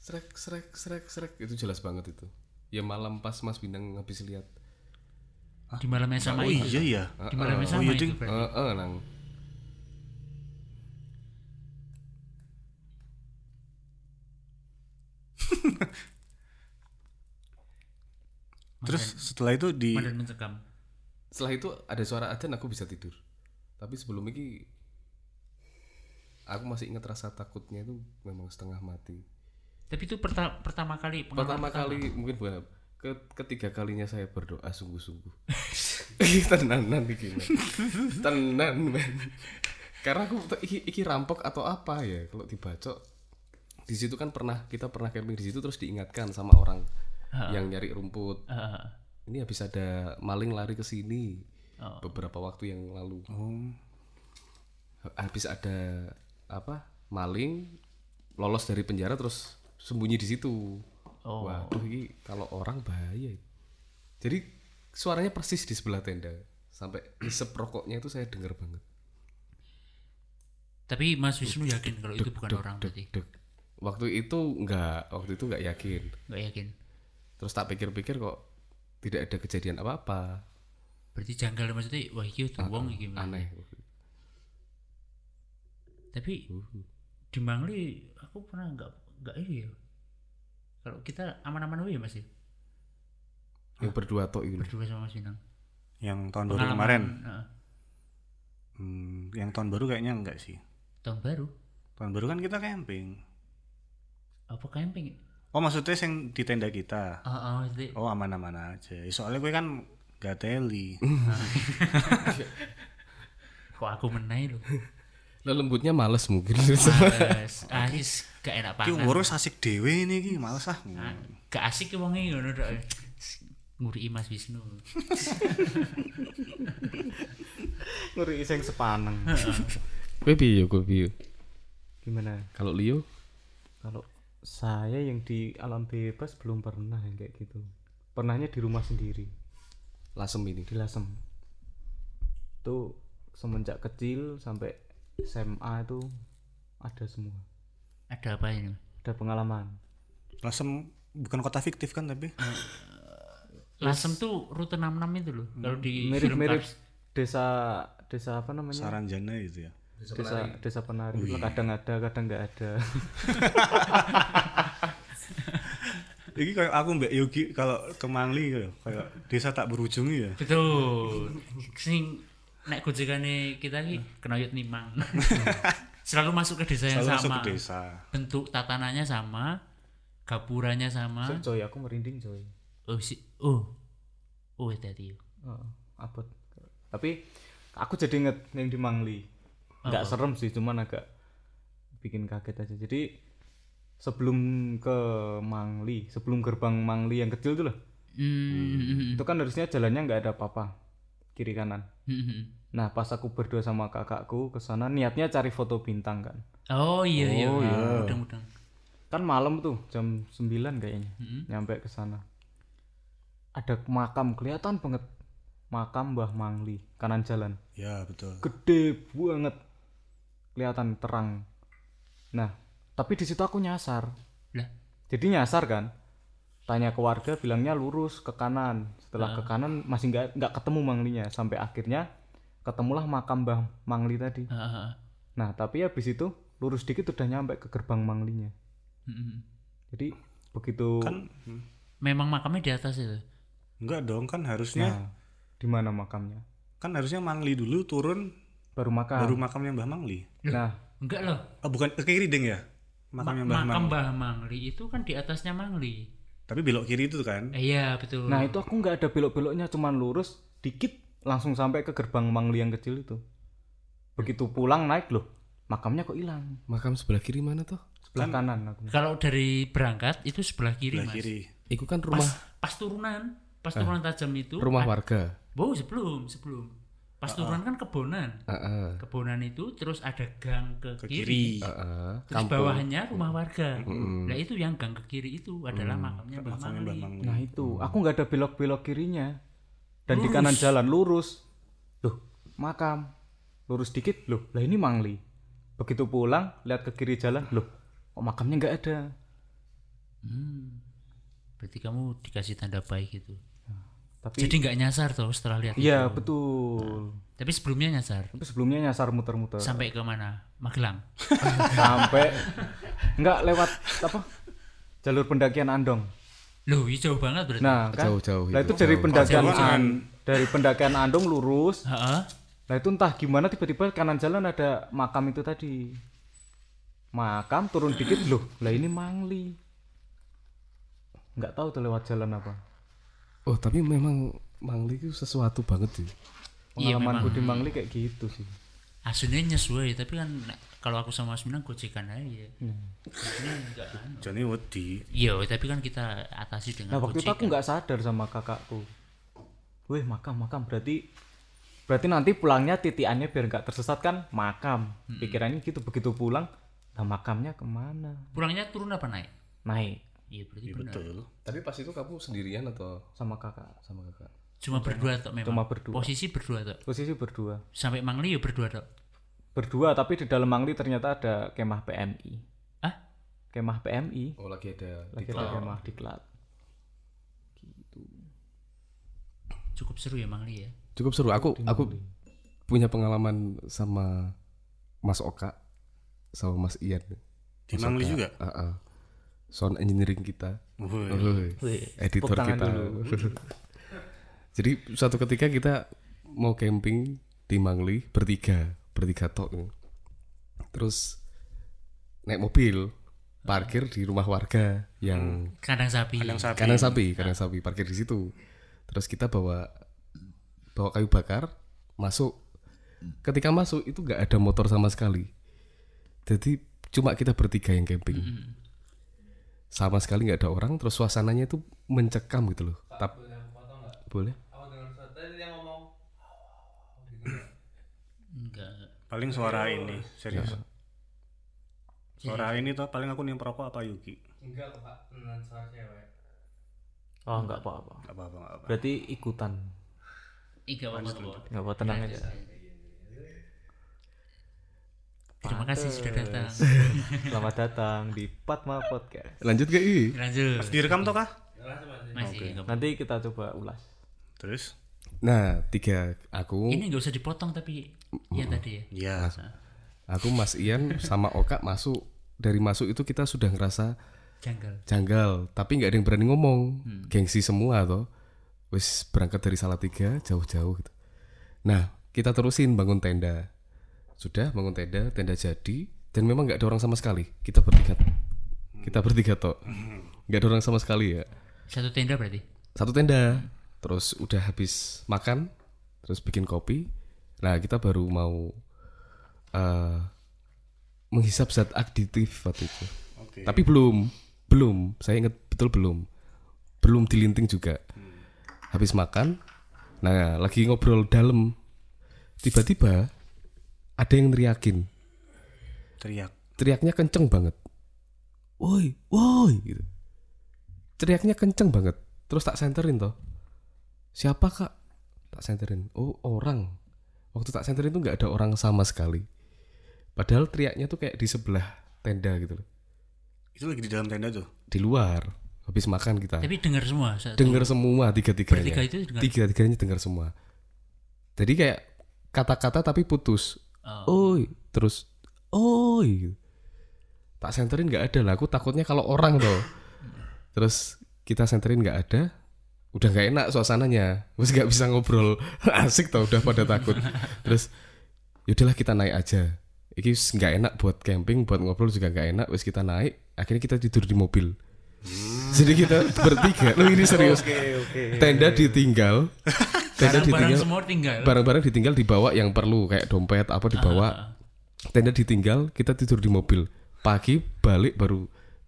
S2: srek srek srek srek itu jelas banget itu ya malam pas mas bintang habis lihat
S3: Di malam yang
S1: oh
S3: sama itu.
S1: iya ya
S3: Di malam yang sama
S1: iya, Ding.
S3: itu
S2: eh
S3: berarti.
S2: eh, nang
S1: terus setelah itu di
S3: Mandan mencekam.
S2: setelah itu ada suara adan aku bisa tidur tapi sebelum ini aku masih ingat rasa takutnya itu memang setengah mati
S3: Tapi itu perta- pertama kali pengalaman
S2: pertama kali mungkin bukan ke ketiga kalinya saya berdoa sungguh-sungguh <laughs> Ih, tenanan iki men. tenan men karena aku tuh iki, iki rampok atau apa ya kalau dibacok di situ kan pernah kita pernah camping di situ terus diingatkan sama orang yang nyari rumput
S3: Heeh.
S2: ini habis ada maling lari ke sini
S3: Oh.
S2: beberapa waktu yang lalu
S1: oh,
S2: habis ada apa maling lolos dari penjara terus sembunyi di situ
S3: Oh.
S2: waduh ini kalau orang bahaya jadi suaranya persis di sebelah tenda sampai isep rokoknya itu saya dengar banget
S3: Tapi Mas Wisnu yakin kalau Oh, itu bukan orang
S2: Dek,
S3: berarti.
S2: dek. waktu itu nggak waktu itu nggak yakin
S3: Nggak yakin.
S2: terus tak pikir-pikir kok tidak ada kejadian apa-apa
S3: Berarti janggal ya, maksudnya wah iki tuh wong iki. Mas.
S2: aneh
S3: Tapi di Mangli aku pernah nggak nggak ini ya. Kalau kita aman-aman aja ya Mas ya.
S2: yang berdua tok ini
S3: Berdua sama Mas Winang.
S1: yang tahun baru
S3: Pengalaman,
S1: kemarin
S3: heeh.
S1: Hmm, yang tahun baru kayaknya enggak sih
S3: tahun baru.
S1: tahun baru kan kita camping
S3: Apa camping?
S1: oh maksudnya yang di tenda kita
S3: Oh, oh, maksudnya
S1: oh aman-aman aja soalnya gue kan gak teli
S3: kok aku menai
S1: <laughs>
S3: loh.
S2: lah lembutnya males mungkin <laughs>
S3: Males. ah, is gak enak
S1: Ki
S3: pangan.
S1: umur wis asik dhewe ini ki males ah.
S3: Ah, Gak asik ki wonge ngono tok. Nguri Mas Wisnu.
S4: <laughs> ngeri iseng sepaneng
S2: gue piye gue piye
S4: gimana
S2: kalau Leo
S4: kalau saya yang di alam bebas belum pernah yang kayak gitu pernahnya di rumah sendiri
S2: lasem ini
S4: di Lasem itu semenjak kecil sampai SMA itu ada semua
S3: Ada apa ini?
S4: ada pengalaman
S1: Lasem bukan kota fiktif kan tapi
S3: Lasem tuh rute 66 itu loh. Kalau di film
S4: mirip-mirip
S3: Cars.
S4: desa desa apa namanya
S1: Saranjana gitu ya.
S4: desa desa penari Itu kadang ada kadang nggak ada
S1: Iki kayak aku Mbak Yogi kalau ke Mangli kayak, kayak desa tak berujung ya.
S3: Betul. Sing nek gojekane kita iki kenayut
S1: <laughs>
S3: nimang. Selalu masuk ke desa yang
S1: Selalu masuk
S3: Ya, sama.
S1: ke desa.
S3: Bentuk tatanannya sama, gapuranya sama.
S4: coy aku merinding coy
S3: Oh, si, oh. Oh, tadi.
S4: Heeh, abot tapi aku jadi inget yang di Mangli nggak serem sih cuman agak bikin kaget aja jadi sebelum ke Mangli sebelum gerbang Mangli yang kecil tuh loh
S3: Hmm. <laughs>
S4: itu kan harusnya jalannya nggak ada apa-apa kiri kanan
S3: hmm.
S4: nah pas aku berdua sama kakakku ke sana niatnya cari foto bintang kan
S3: Oh iya iya. Mudang-mudang.
S4: kan malam tuh jam 9 kayaknya
S3: Hmm.
S4: nyampe ke sana ada makam kelihatan banget makam Mbah Mangli kanan jalan
S1: Ya betul.
S4: gede banget kelihatan terang nah tapi di situ aku nyasar
S3: Lah,
S4: jadi nyasar kan tanya ke warga bilangnya lurus ke kanan setelah ke kanan masih nggak nggak ketemu manglinya sampai akhirnya ketemulah makam Mbah Mangli tadi
S3: Heeh.
S4: nah tapi habis itu lurus dikit udah nyampe ke gerbang manglinya
S3: Mm-mm.
S4: jadi begitu
S1: kan hmm.
S3: Hmm. Memang makamnya di atas itu.
S1: enggak dong kan harusnya
S4: nah di mana makamnya
S1: kan harusnya Mangli dulu turun
S4: baru makam
S1: baru makamnya Mbah Mangli
S4: nah
S3: Enggak loh.
S1: oh bukan ke kiri deng ya makamnya
S3: Ma-
S1: Mbah
S3: makam
S1: Mangli
S3: Mbah Mangli itu kan di atasnya Mangli.
S1: tapi belok kiri itu kan
S3: Eh, Iya, betul.
S4: nah itu aku nggak ada belok-beloknya cuman lurus dikit langsung sampai ke gerbang mangli yang kecil itu begitu pulang naik loh makamnya kok hilang
S2: Makam sebelah kiri mana tuh?
S4: sebelah kanan aku
S3: Kalau dari berangkat itu sebelah kiri,
S1: belok
S3: Mas.
S1: kiri
S2: Iku kan
S3: Pas,
S2: rumah
S3: pas turunan, pas turunan tajam itu.
S2: rumah Ah, warga.
S3: Wow, sebelum, sebelum. Pas turunan kan kebonan.
S2: Heeh.
S3: Kebonan itu terus ada gang ke,
S1: ke
S3: kiri.
S1: kiri
S2: Heeh.
S3: Terus
S2: Kampung.
S3: bawahnya rumah warga. Nah, itu yang gang ke kiri itu
S2: Mm.
S3: adalah makamnya Mbah
S1: makamnya Mbah
S3: Mangli.
S1: Mangli
S4: Nah itu, aku nggak ada belok-belok kirinya dan di kanan jalan lurus. Loh, makam. Lurus dikit, loh. Lah ini Mangli. Begitu pulang, lihat ke kiri jalan, loh. Kok makamnya nggak ada?
S3: Hmm. Berarti kamu dikasih tanda baik itu.
S2: Iya.
S4: Tapi
S3: Jadi nggak nyasar tuh setelah lihat.
S4: Iya, betul.
S3: Tapi sebelumnya nyasar.
S2: Iya.
S4: Tapi sebelumnya nyasar muter-muter
S3: Sampai ke mana? Magelang.
S4: sampai nggak lewat apa? Jalur pendakian Andong.
S3: Loh, ini jauh banget berarti.
S4: Nah, kan.
S2: Jauh-jauh
S4: Lah
S2: itu,
S4: itu dari
S2: jauh.
S4: pendakian
S1: Jauhan.
S4: An- dari pendakian Andong lurus.
S3: Heeh.
S4: Nah itu entah gimana tiba-tiba kanan jalan ada makam itu tadi. Makam turun dikit loh. Lah ini Mangli. Nggak tahu tuh lewat jalan apa.
S2: Oh, tapi memang Mangli itu sesuatu banget sih.
S3: Iya,
S4: Pengalamanku di Mangli kayak gitu sih.
S3: Aslinya nyesuai, tapi kan nek- kalau aku sama Asmina gojekan aja. Ini enggak anu.
S1: jadi wedi
S3: Iya, tapi kan kita atasi dengan
S4: Nah waktu itu
S3: gojekan.
S4: aku nggak sadar sama kakakku. Weh makam makam berarti berarti nanti pulangnya titiannya biar nggak tersesat kan makam. Pikirannya gitu begitu pulang, lah makamnya kemana?
S3: Pulangnya turun apa naik?
S4: Naik
S3: Iya, berarti benar.
S1: betul
S2: Tapi pas itu kamu sendirian atau
S4: sama kakak.
S2: sama kakak?
S3: Cuma berdua tok memang.
S4: Cuma berdua.
S3: Posisi berdua tok.
S4: Posisi berdua.
S3: Sampai Mangli ya berdua tok.
S4: Berdua tapi di dalam Mangli ternyata ada kemah PMI.
S3: Ah,
S4: kemah PMI
S2: Oh, lagi ada
S4: lagi ada kemah diklat
S3: cukup seru ya Mangli ya.
S2: Cukup seru. Aku aku punya pengalaman sama Mas Oka sama Mas Ian.
S1: di Mangli juga
S2: Heeh. Sound engineering kita.
S1: Woi.
S2: Woi, editor
S4: tepuk tangan
S2: kita. <laughs> Jadi suatu ketika kita mau camping di Mangli bertiga, bertiga tok. Terus naik mobil, parkir di rumah warga
S4: Hmm.
S2: yang
S3: Kandang sapi.
S1: kandang sapi
S2: kandang sapi, kandang sapi parkir di situ. Terus kita bawa bawa kayu bakar, masuk. Ketika masuk itu nggak ada motor sama sekali. Jadi cuma kita bertiga yang camping.
S3: Mhm.
S2: Sama sekali nggak ada orang, terus suasananya itu mencekam gitu loh. Tap boleh?
S3: Enggak.
S1: paling suara ini serius suara ini tuh paling aku nih perokok apa Yuki
S4: oh nggak apa-apa
S1: Gak apa-apa gak apa
S4: berarti ikutan
S3: Enggak apa-apa.
S4: nggak apa tenang aja
S3: Terima kasih sudah datang.
S4: selamat datang di Patma Podcast
S2: Lanjut gak I?
S3: Lanjut.
S1: direkam toh kah
S3: Masih. enggak apa-apa.
S4: nanti kita coba ulas
S1: terus
S2: Nah, tiga aku,
S3: Ini enggak usah dipotong tapi ya tadi ya.
S1: ya
S2: aku Mas Ian sama Oka masuk. Dari masuk itu kita sudah ngerasa
S3: Janggal.
S2: janggal tapi nggak ada yang berani ngomong gengsi semua toh wis berangkat dari Salatiga jauh-jauh gitu nah kita terusin bangun tenda sudah bangun tenda tenda jadi dan memang nggak ada orang sama sekali kita bertiga kita bertiga toh nggak ada orang sama sekali ya
S3: Satu tenda berarti.
S2: satu tenda terus udah habis makan terus bikin kopi nah kita baru mau eh, menghisap zat aditif waktu itu
S1: oke
S2: Iya. tapi belum belum saya ingat betul belum belum dilinting juga habis makan nah lagi ngobrol dalam tiba-tiba ada yang teriakin
S1: teriak
S2: teriaknya kenceng banget woi woi gitu. teriaknya kenceng banget terus tak senterin toh siapa kak tak senterin oh orang waktu tak senterin tuh nggak ada orang sama sekali padahal teriaknya tuh kayak di sebelah tenda gitu loh
S1: itu lagi di dalam tenda tuh
S2: di luar habis makan kita
S3: Tapi dengar semua. saat-
S2: dengar semua tiga tiganya
S3: Bertiga itu dengar.
S2: tiga tiganya dengar semua jadi kayak kata-kata tapi putus
S3: Oh.
S2: oi terus oi gitu. tak senterin nggak ada lah aku takutnya kalau orang tuh terus kita senterin nggak ada udah nggak enak suasananya terus nggak bisa ngobrol <laughs> asik tau udah pada takut terus yaudahlah kita naik aja ini wis nggak enak buat camping buat ngobrol juga nggak enak wis kita naik akhirnya kita tidur di mobil jadi kita bertiga loh ini serius tenda ditinggal tenda
S3: Barang-barang
S2: ditinggal
S3: semua tinggal.
S5: Iya.
S2: barang-barang ditinggal dibawa yang perlu kayak dompet apa
S5: Ah.
S2: dibawa tenda ditinggal kita tidur di mobil pagi balik baru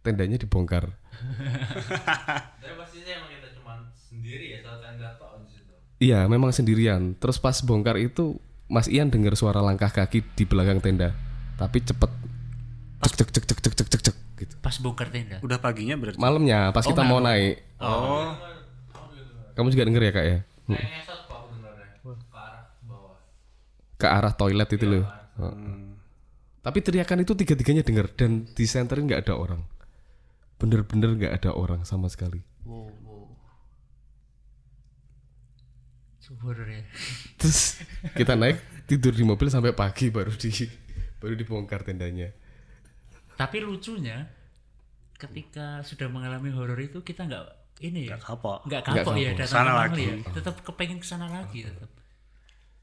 S2: tendanya dibongkar
S5: Tapi pastinya emang kita cuma sendiri ya satu tenda tok di situ.
S2: iya memang sendirian terus pas bongkar itu Mas Ian dengar suara langkah kaki di belakang tenda tapi cepet cek cek cek cek cek cek cek, cek, gitu
S3: Pas bongkar tenda.
S1: Udah paginya berarti.
S2: malamnya pas kita mau naik
S1: Oh,
S2: kamu juga denger ya kak ya
S5: Kayak ngesot kok aku dengarnya ke arah bawah.
S2: ke arah toilet itu loh Oh. tapi teriakan itu tiga-tiganya denger dan di senterin nggak ada orang bener-bener nggak ada orang sama sekali
S3: Wow, wow. Subur ya.
S2: terus kita naik tidur di mobil sampai pagi baru di baru dibongkar tendanya
S3: Tapi lucunya ketika sudah mengalami horor itu kita nggak ini ya.
S1: nggak kapok.
S3: Nggak kapok
S2: Nggak
S3: ya
S2: kapok.
S3: datang
S1: Sana
S3: ke
S1: lagi.
S3: Mangli ya. Tetap kepengen kesana lagi tetap.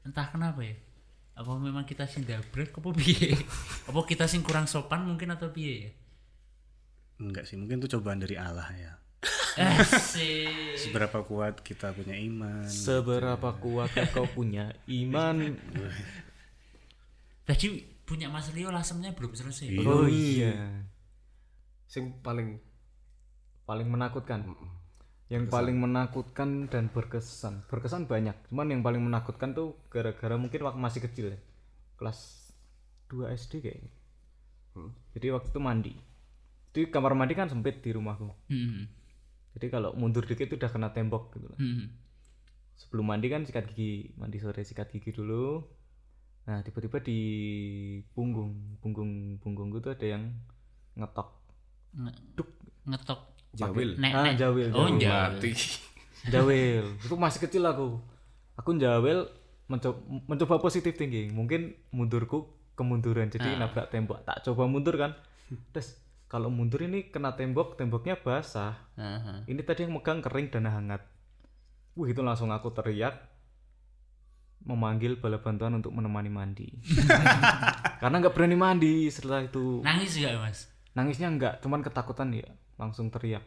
S3: Entah kenapa ya. Apa memang kita sing dabrek apa piye? apa kita sing kurang sopan mungkin atau piye ya?
S1: Enggak sih, mungkin itu cobaan dari Allah ya.
S3: Asik.
S1: Seberapa kuat kita punya iman.
S4: Seberapa kuat kau punya iman?
S3: Tadi punya Mas Leo lasemnya belum selesai.
S4: Oh iya.
S2: sing paling
S4: Paling menakutkan. Yang paling menakutkan dan berkesan. Berkesan banyak. Cuman yang paling menakutkan tuh gara-gara mungkin waktu masih kecil ya. Kelas 2 SD kayaknya. Jadi waktu itu mandi. Di kamar mandi kan sempit di rumahku.
S3: Hmm,
S4: Jadi kalau mundur dikit udah kena tembok gitu lah.
S3: hmm.
S4: Sebelum mandi kan sikat gigi, mandi sore sikat gigi dulu. Nah, tiba-tiba di punggung, punggung punggungku tuh ada yang ngetok.
S3: Nge- ngetok
S2: jawil
S3: nek
S4: Ah,
S3: nek.
S4: jawil,
S3: Oh,
S4: jawil.
S3: jawil.
S2: mati
S4: Jawel. itu masih kecil aku. Aku jawel mencoba, mencoba positif thinking. Mungkin mundurku kemunduran jadi
S3: Ah.
S4: nabrak tembok. Tak coba mundur kan. Terus kalau mundur ini kena tembok, temboknya basah.
S3: Aha.
S4: Ini tadi yang megang kering dan hangat. Wih itu langsung aku teriak memanggil bala bantuan untuk menemani mandi. Karena nggak berani mandi setelah itu.
S3: Nangis juga mas.
S4: Nangisnya nggak, cuman ketakutan ya langsung teriak.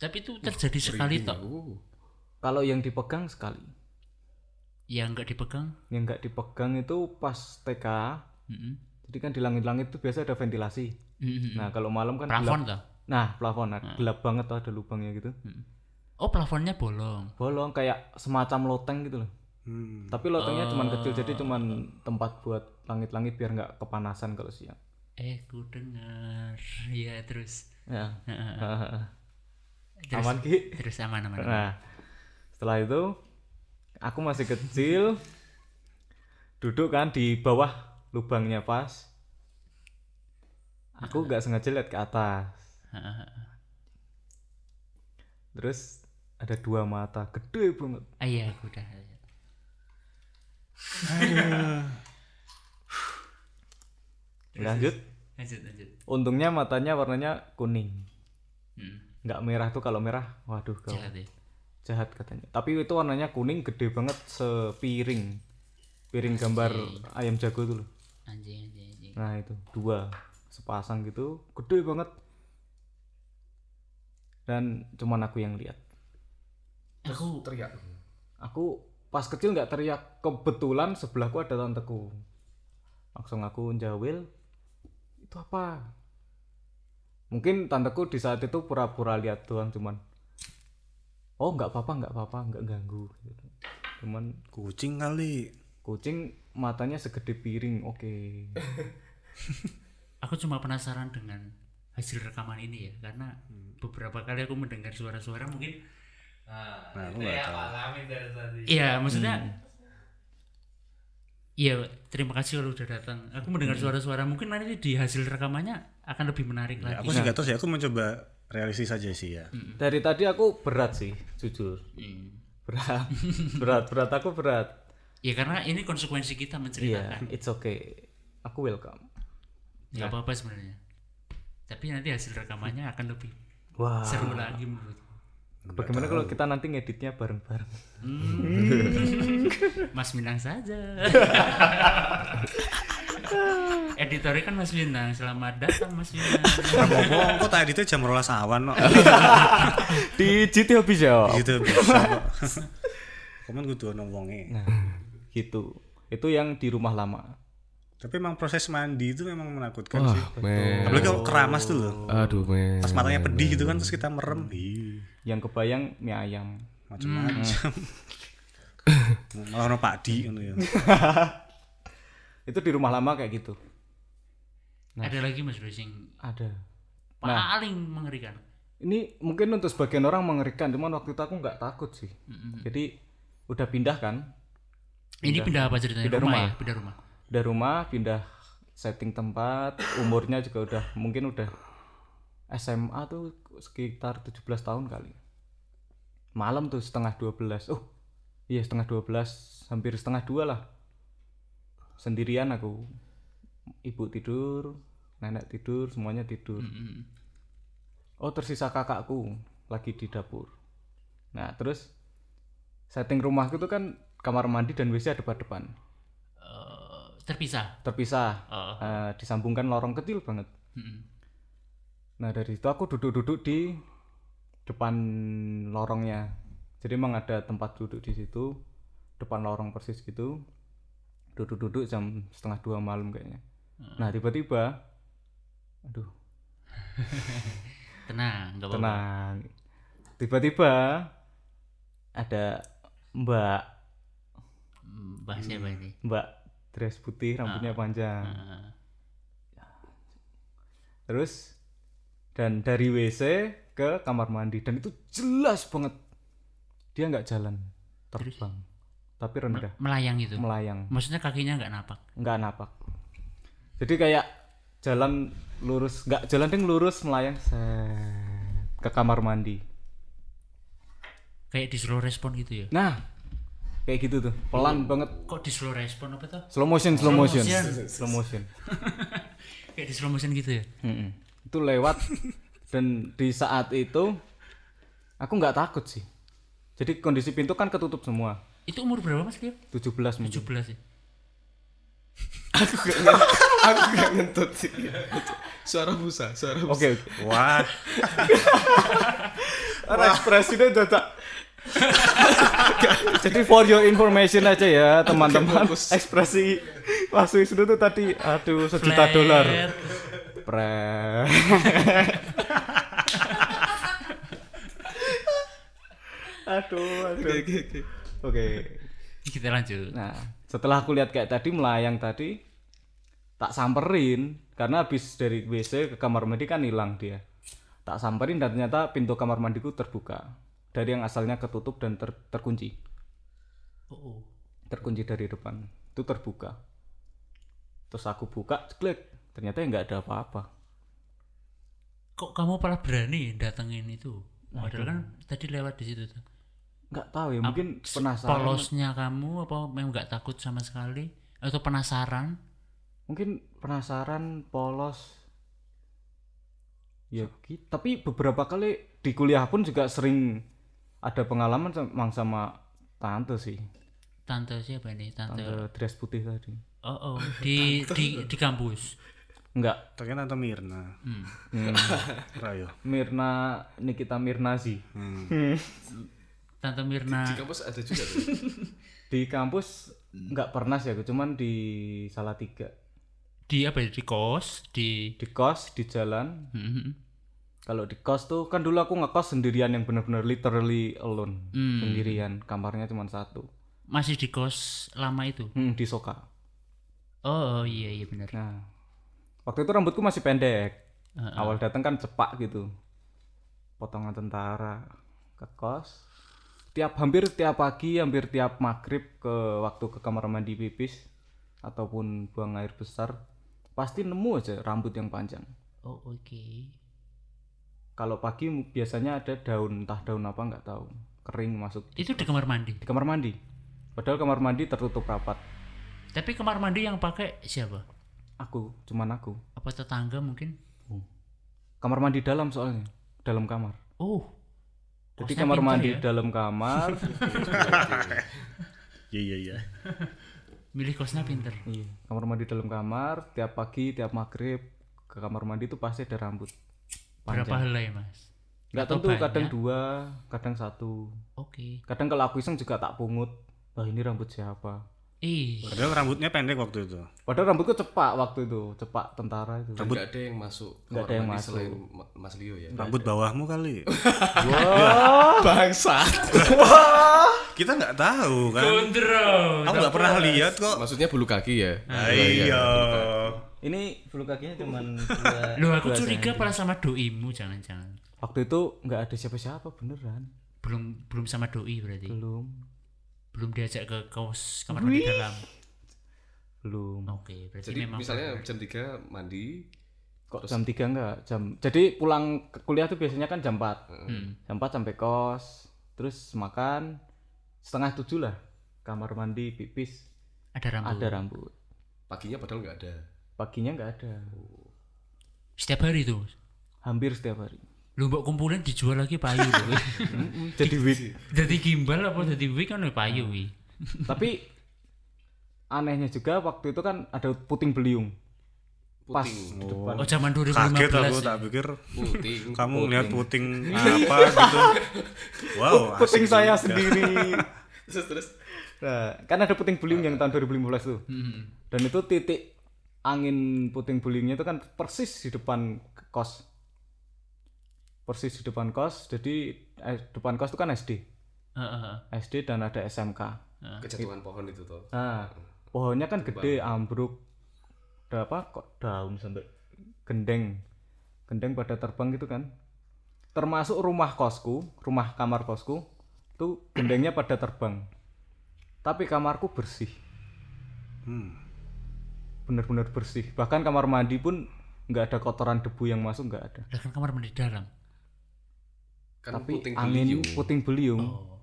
S3: Tapi itu terjadi sekali toh.
S4: Kalau yang dipegang sekali,
S3: Yang Ya, nggak dipegang.
S4: yang nggak dipegang itu pas TK.
S3: Mm-mm.
S4: Jadi kan di langit-langit itu biasa ada ventilasi.
S3: Mm-mm.
S4: Nah kalau malam kan
S3: Hmm. Plafon
S4: gelap.
S3: toh.
S4: Nah plafon nah, gelap banget tuh ada lubangnya gitu.
S3: Oh plafonnya bolong.
S4: Bolong kayak semacam loteng gitu loh.
S1: Hmm.
S4: Tapi lotengnya cuman kecil jadi cuman tempat buat langit-langit biar nggak kepanasan kalau siang.
S3: Eh ku dengar. <laughs> Ya terus.
S4: Ya.
S3: Heeh. terus,
S4: Aman Ki.
S3: terus aman aman. aman.
S4: Nah, setelah itu aku masih kecil duduk kan di bawah lubangnya pas. Aku nggak sengaja lihat ke atas. Terus ada dua mata gede banget.
S3: Ah iya aku udah.
S4: Lanjut.
S3: Lanjut lanjut.
S4: Untungnya matanya warnanya kuning.
S3: Hmm.
S4: Nggak merah tuh kalau merah, waduh kau.
S3: Jahat ya.
S4: jahat katanya tapi itu warnanya kuning gede banget sepiring piring gambar ayam jago itu loh
S3: Anjing anjing anjing.
S4: nah itu dua sepasang gitu gede banget dan cuman aku yang lihat
S3: Aku
S2: teriak
S4: aku pas kecil nggak teriak kebetulan sebelahku ada tanteku langsung aku jawil itu apa mungkin tanteku di saat itu pura-pura lihat doang cuman oh nggak apa-apa nggak apa-apa nggak ganggu gitu. cuman
S1: Kucing kali.
S4: kucing matanya segede piring oke
S3: aku cuma penasaran dengan hasil rekaman ini ya karena
S4: Hmm.
S3: beberapa kali aku mendengar suara-suara mungkin
S5: Nah,
S1: Nah, aku
S5: itu
S1: nggak
S5: ya
S1: tahu.
S5: aku alamin dari
S4: Oh,
S5: tadi.
S3: Iya,
S4: Hmm.
S3: maksudnya Iya, terima kasih kalau udah datang.
S4: Hmm.
S3: Aku mendengar suara-suara. Mungkin nanti di hasil rekamannya akan lebih menarik
S1: Ya,
S3: lagi.
S4: Iya,
S3: Nah,
S1: aku sih nggak tahu sih. Aku mencoba realistis aja sih ya
S4: Dari tadi aku berat sih, jujur.
S3: iya.
S4: Berat. berat, berat aku berat.
S3: Ya karena ini konsekuensi kita
S4: Iya,
S3: menceritakan.
S4: it's okay. Aku welcome.
S3: nggak apa-apa sebenarnya. Tapi nanti hasil rekamannya akan lebih
S4: Wah.
S3: seru lagi menurut. <laughs>
S4: Bagaimana kalau kita nanti ngeditnya <laughs> bareng-bareng?
S3: Hmm. Mas Minang <laughs> saja. Editornya kan Mas Minang. Selamat datang Mas Minang.
S1: ngomong kok tadi itu jam rolas <laughs> awan no.
S4: Di GT habis ya.
S1: gitu bisa kok <laughs> komen kudu ono wonge
S4: Nah, gitu. Itu yang di rumah lama.
S1: tapi emang proses mandi itu memang menakutkan
S2: Wah,
S1: sih
S2: men.
S1: apalagi kalau keramas tuh loh
S4: Oh,
S2: Aduh,
S1: Ah,
S2: men.
S4: iya.
S2: <laughs>
S1: pas matanya pedih gitu kan terus kita merem Ih,
S4: Yang kebayang mie ayam. <laughs>
S1: macam-macam malah ono Pak Di ngono
S4: <laughs>
S1: ya
S4: Itu di rumah lama kayak gitu.
S3: Ada lagi Mas Racing
S4: Ada.
S3: paling mengerikan.
S4: Ini mungkin untuk sebagian orang mengerikan, cuman waktu itu aku nggak takut sih. Jadi udah pindah kan?
S3: Ini pindah apa ceritanya?
S4: Pindah
S3: rumah,
S4: rumah.
S3: ya? Pindah rumah.
S4: Udah rumah, pindah setting tempat, umurnya juga udah mungkin udah SMA tuh sekitar 17 tahun kali. Malam tuh setengah 12. Oh. Iya, setengah 12, hampir setengah dua lah. Sendirian aku. Ibu tidur, nenek tidur, semuanya tidur.
S3: Mm-mm.
S4: Oh tersisa kakakku lagi di dapur. Nah terus setting rumahku tuh kan kamar mandi dan WC ada depan depan,
S3: Eh, terpisah.
S4: terpisah,
S3: Oh.
S4: Eh, disambungkan lorong kecil banget.
S3: Mm-mm.
S4: Nah dari situ aku duduk-duduk di depan lorongnya. Jadi emang ada tempat duduk di situ, depan lorong persis gitu. Duduk-duduk jam setengah dua malam kayaknya. Nah tiba-tiba, aduh
S3: Tenang, nggak apa-apa.
S4: tenang tiba-tiba ada mbak
S3: Mm, Bahas apa ini?
S4: mbak dress putih rambutnya panjang
S3: Eh,
S4: terus dan dari WC ke kamar mandi dan itu jelas banget dia nggak jalan terbang tapi rendah
S3: melayang gitu.
S4: melayang
S3: Maksudnya kakinya nggak napak.
S4: nggak napak jadi kayak jalan lurus nggak jalan ding lurus melayang set, ke kamar mandi
S3: Kayak di slow respon gitu ya.
S4: nah kayak gitu tuh pelan banget
S3: Kok di slow respon apa tuh?
S4: Slow motion, slow motion,
S3: motion.
S4: slow motion.
S3: Kayak di slow motion gitu ya.
S4: Mm-mm. Itu lewat dan di saat itu aku nggak takut sih. Jadi kondisi pintu kan ketutup semua.
S3: Itu umur berapa Mas Leo?
S4: 17
S3: 17
S4: mungkin.
S3: ya.
S2: Aku gak ngentut sih. Suara busa, suara busa.
S4: Oke, oke.
S1: wah
S4: Orang ekspresinya dadak. <laughs> Jadi for your information aja ya teman-teman. Ekspresi Mas Wisnu tuh tadi aduh sejuta
S3: Flare.
S4: dolar. Pre. <laughs> aduh, aduh.
S2: Oke, oke.
S4: Oke.
S3: Kita lanjut.
S4: Nah, setelah aku lihat kayak tadi melayang tadi tak samperin karena habis dari WC ke kamar mandi kan hilang dia. Tak samperin dan ternyata pintu kamar mandiku terbuka. Dari yang asalnya ketutup dan ter- terkunci.
S3: Oh, oh.
S4: Terkunci dari depan. Itu terbuka. Terus aku buka, klik. Ternyata ya nggak ada apa-apa.
S3: Kok kamu malah berani datengin itu? Padahal kan tadi lewat di situ tuh.
S4: Nggak tahu ya, mungkin penasaran.
S3: Polosnya kamu apa memang nggak takut sama sekali atau penasaran?
S4: mungkin penasaran polos ya gitu. tapi beberapa kali di kuliah pun juga sering ada pengalaman sama- emang sama tante sih
S3: Tante siapa ini? Tante.
S4: tante dress putih tadi
S3: Oh, oh. di di di kampus.
S4: enggak
S1: ternyata atau Mirna
S3: Hmm. <laughs>
S1: Rayo
S4: Mirna Nikita Mirnazi
S1: Hmm.
S3: Tante Mirna.
S2: Di kampus ada juga tuh.
S4: di kampus
S3: Hmm.
S4: enggak pernah sih aku cuman di Salatiga
S3: di apa ya di kos di
S4: di kos di jalan
S3: Hmm.
S4: kalau di kos tuh kan dulu aku ngekos sendirian yang bener-bener literally alone
S3: Hmm.
S4: sendirian kamarnya cuma satu
S3: masih di kos lama itu
S4: Hmm, di Soka
S3: oh iya iya benar
S4: Nah, waktu itu rambutku masih pendek.
S3: Heeh.
S4: Awal datang kan cepak gitu. Potongan tentara ke kos. Tiap hampir tiap pagi, hampir tiap maghrib ke waktu ke kamar mandi pipis ataupun buang air besar, pasti nemu aja rambut yang panjang.
S3: oh oke
S4: kalau pagi mu- biasanya ada daun entah daun apa nggak tahu kering masuk di,
S3: Itu di kamar mandi.
S4: di kamar mandi padahal kamar mandi tertutup rapat
S3: Tapi kamar mandi yang pakai siapa?
S4: aku cuman aku
S3: Apa tetangga mungkin? Oh.
S4: kamar mandi dalam soalnya dalam kamar
S3: Oh.
S4: jadi
S3: Hostnya
S4: kamar
S3: pinter
S4: mandi
S3: ya.
S4: dalam
S3: <laughs>
S4: kamar
S1: Iya iya iya.
S3: Milih kosnya pinter.
S4: iya kamar mandi dalam kamar tiap pagi tiap maghrib ke kamar mandi itu pasti ada rambut
S3: Berapa
S4: panjang
S3: helai, Mas?
S4: nggak
S3: Atau
S4: tentu kadang
S3: banyak? ya?
S4: dua kadang satu
S3: Oke.
S4: kadang kalau aku iseng juga tak pungut wah ini rambut siapa
S3: Ih,
S1: Padahal rambutnya pendek waktu itu.
S4: padahal rambutku cepak waktu itu cepak tentara itu
S2: Nggak ada yang masuk
S4: Nggak ada
S2: kamar
S4: yang
S2: mandi
S4: masuk.
S2: selain Ma- Mas Leo ya.
S1: Rambut bawahmu kali.
S2: Bangsa.
S1: Kita nggak tahu kan.
S3: Gondrong.
S1: Aku nggak pernah lihat kok.
S2: <laughs> Maksudnya bulu kaki ya.
S1: Ah, Iya.
S4: ini bulu <laughs> kakinya cuman dua-
S3: Loh, aku
S4: dua
S3: curiga
S4: senti.
S3: pala sama doimu jangan-jangan.
S4: waktu itu nggak ada siapa-siapa beneran
S3: Belum belum sama doi berarti.
S4: belum
S3: Belum diajak ke kaos kamar mandi dalam.
S4: belum
S3: Oke, berarti
S2: Jadi
S3: memang
S2: misalnya jam 3 mandi
S4: kok jam 3 enggak jam jadi pulang ke kuliah tuh biasanya kan jam 4
S3: Hmm.
S4: jam 4 sampai kos terus makan setengah tujuh lah kamar mandi pipis
S3: ada rambut.
S4: ada rambut
S2: paginya padahal nggak ada.
S4: paginya nggak ada
S3: Setiap hari tuh.
S4: hampir setiap hari
S3: Lu mbok kumpulin dijual lagi payu lho.
S4: <laughs> jadi week
S3: Jadi gimbal apa jadi wig kan lho, payu wi.
S4: tapi anehnya juga waktu itu kan ada puting beliung pas di
S3: <laughs>
S4: depan
S3: Oh, zaman 2015.
S1: Kaget aku
S3: ya.
S1: tak pikir
S2: Puting.
S1: kamu ngeliat
S2: <laughs>
S1: puting apa gitu. Wow, Oh, asik
S4: puting saya
S1: juga.
S4: sendiri
S2: terus terus.
S4: nah, kan ada puting beliung yang tahun 2015 tuh
S3: Hmm.
S4: dan itu titik angin puting beliungnya itu kan persis di depan kos persis di depan kos jadi eh, depan kos itu kan SD
S3: Heeh, heeh,
S4: SD dan ada SMK
S3: heeh.
S2: Kejatuhan pohon itu toh.
S4: nah pohonnya kan gede ambruk ada apa kok daun sampai gendeng gendeng pada terbang gitu kan termasuk rumah kosku rumah kamar kosku tuh gendengnya pada terbang tapi kamarku bersih
S1: Hmm.
S4: benar-benar bersih bahkan kamar mandi pun nggak ada kotoran debu yang masuk nggak ada
S3: Lah kan kamar mandi dalam.
S2: Kan
S4: tapi
S2: puting
S4: angin
S2: beliung.
S4: puting beliung
S3: Oh.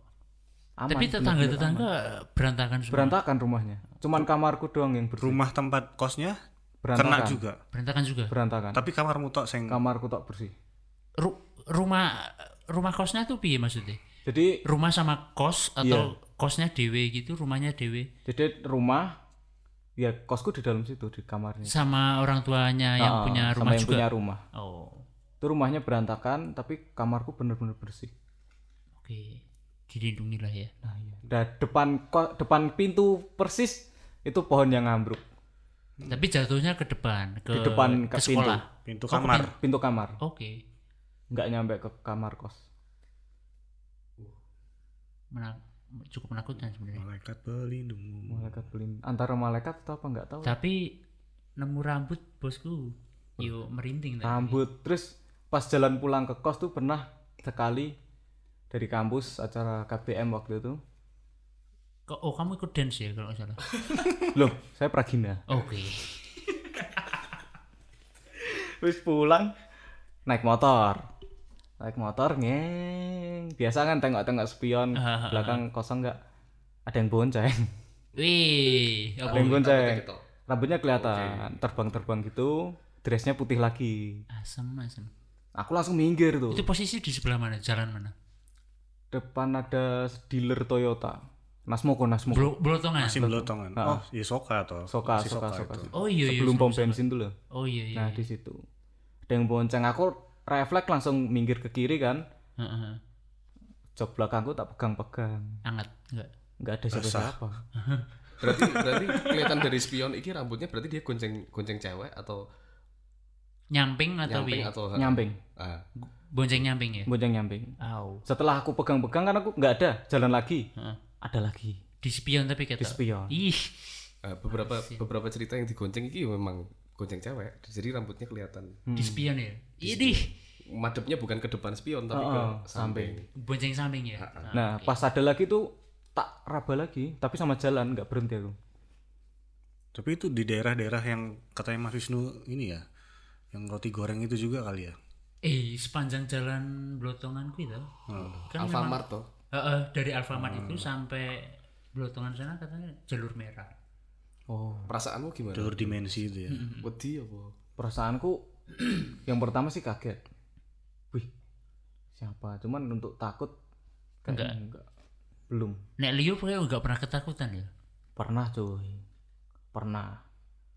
S4: aman,
S3: Tapi
S4: benar-benar aman.
S3: tetangga-tetangga berantakan semua.
S4: berantakan rumahnya cuman kamarku doang yang bersih
S1: Rumah tempat kosnya
S4: berantakan
S1: kena juga.
S3: berantakan juga.
S4: berantakan
S1: Tapi kamarmu tok sing
S4: kamarku tak bersih
S3: Ru- rumah rumah kosnya tuh piye maksudnya?
S4: jadi
S3: Rumah sama kos atau kosnya dewe gitu, rumahnya dewe
S4: jadi rumah ya kosku di dalam situ di kamarnya
S3: sama orang tuanya yang
S4: Ah,
S3: punya
S4: sama
S3: rumah
S4: yang
S3: juga.
S4: punya rumah
S3: Oh.
S4: itu rumahnya berantakan tapi kamarku benar-benar bersih
S3: Oke. Dilindungi lah ya.
S4: nah iya Nah, depan ko- depan pintu persis itu pohon yang ambruk
S3: Tapi jatuhnya ke depan, ke
S4: Di depan
S3: ke
S4: ke pintu.
S3: sekolah.
S1: pintu
S3: Oh, ke
S1: kamar.
S4: pintu kamar
S3: Oke.
S4: nggak nyampe ke kamar kos
S3: Mena- cukup menakutkan sebenarnya.
S1: Malaikat pelindungmu.
S4: malaikat pelindung antara malaikat atau apa nggak tahu
S3: Tapi Oh, iya. nemu rambut bosku. Yo merinding tadi.
S4: rambut terus pas jalan pulang ke kos tuh pernah sekali dari kampus acara KBM waktu itu
S3: Kok- Oh, kamu ikut dance ya kalau nggak salah.
S4: loh saya pragina
S3: Oke.
S4: terus pulang naik motor naik motor ngeng biasa kan tengok-tengok spion belakang kosong nggak ada yang bonceng
S3: Wih,
S4: <laughs> ada
S3: apa
S4: yang bonceng
S3: gitu.
S2: ketok.
S4: rambutnya kelihatan terbang-terbang gitu dressnya putih lagi
S3: asem asem.
S4: aku langsung minggir tuh
S3: Itu posisi di sebelah mana? Jalan mana?
S4: depan ada dealer Toyota Nasmoko Nasmoko
S3: Bro, blotongan.
S1: Masih belotongan. Oh, iya soka toh.
S4: Ah. Soka
S1: Si
S4: Soka Soka,
S1: itu.
S4: Soka.
S3: Oh iya iya.
S4: sebelum
S3: sebelum-
S4: pom bensin dulu
S3: Oh iya iya.
S4: Nah, di situ. Ada yang bonceng aku refleks langsung minggir ke kiri kan.
S3: Heeh, heeh.
S4: Jok belakangku tak pegang-pegang.
S3: Anget enggak?
S4: nggak ada siapa-siapa.
S2: Berarti berarti kelihatan dari spion iki rambutnya berarti dia gonceng gonceng cewek atau
S3: Nyamping atau iya.
S2: nyamping
S3: piye?
S2: atau
S4: Nyamping,
S2: Ah,
S3: Bonceng nyamping ya?
S4: bonceng nyamping.
S3: Au.
S4: Setelah aku pegang-pegang kan aku nggak ada, jalan lagi.
S3: Heeh.
S4: Ada lagi.
S3: Di spion tapi kata.
S4: Di spion.
S3: Ih,
S2: ah, beberapa beberapa cerita yang digonceng iki memang gonceng cewek. Jadi rambutnya kelihatan.
S4: Hmm.
S3: di spion ya. Ini
S2: Madepnya bukan ke depan spion tapi
S4: Heeh,
S2: ke samping.
S3: bonceng samping ya. Ah,
S4: Nah, pas ada lagi tuh tak raba lagi, tapi sama jalan nggak berhenti aku.
S1: Tapi itu di daerah-daerah yang katanya Mas Wisnu ini ya, yang roti goreng itu juga kali ya.
S3: eh sepanjang jalan Blotongan kuwi toh. Kan memang-
S2: Oh, Alfamart toh.
S3: Heeh, dari Alfamart itu sampai Blotongan sana katanya jalur merah.
S4: oh
S2: Perasaanmu gimana?
S1: jalur dimensi itu ya
S2: Wedi apa?
S4: perasaanku <clears throat> yang pertama sih kaget wih siapa cuman untuk takut kayaknya enggak belum
S3: Nek Leo pokoknya nggak pernah ketakutan ya.
S4: pernah cuy pernah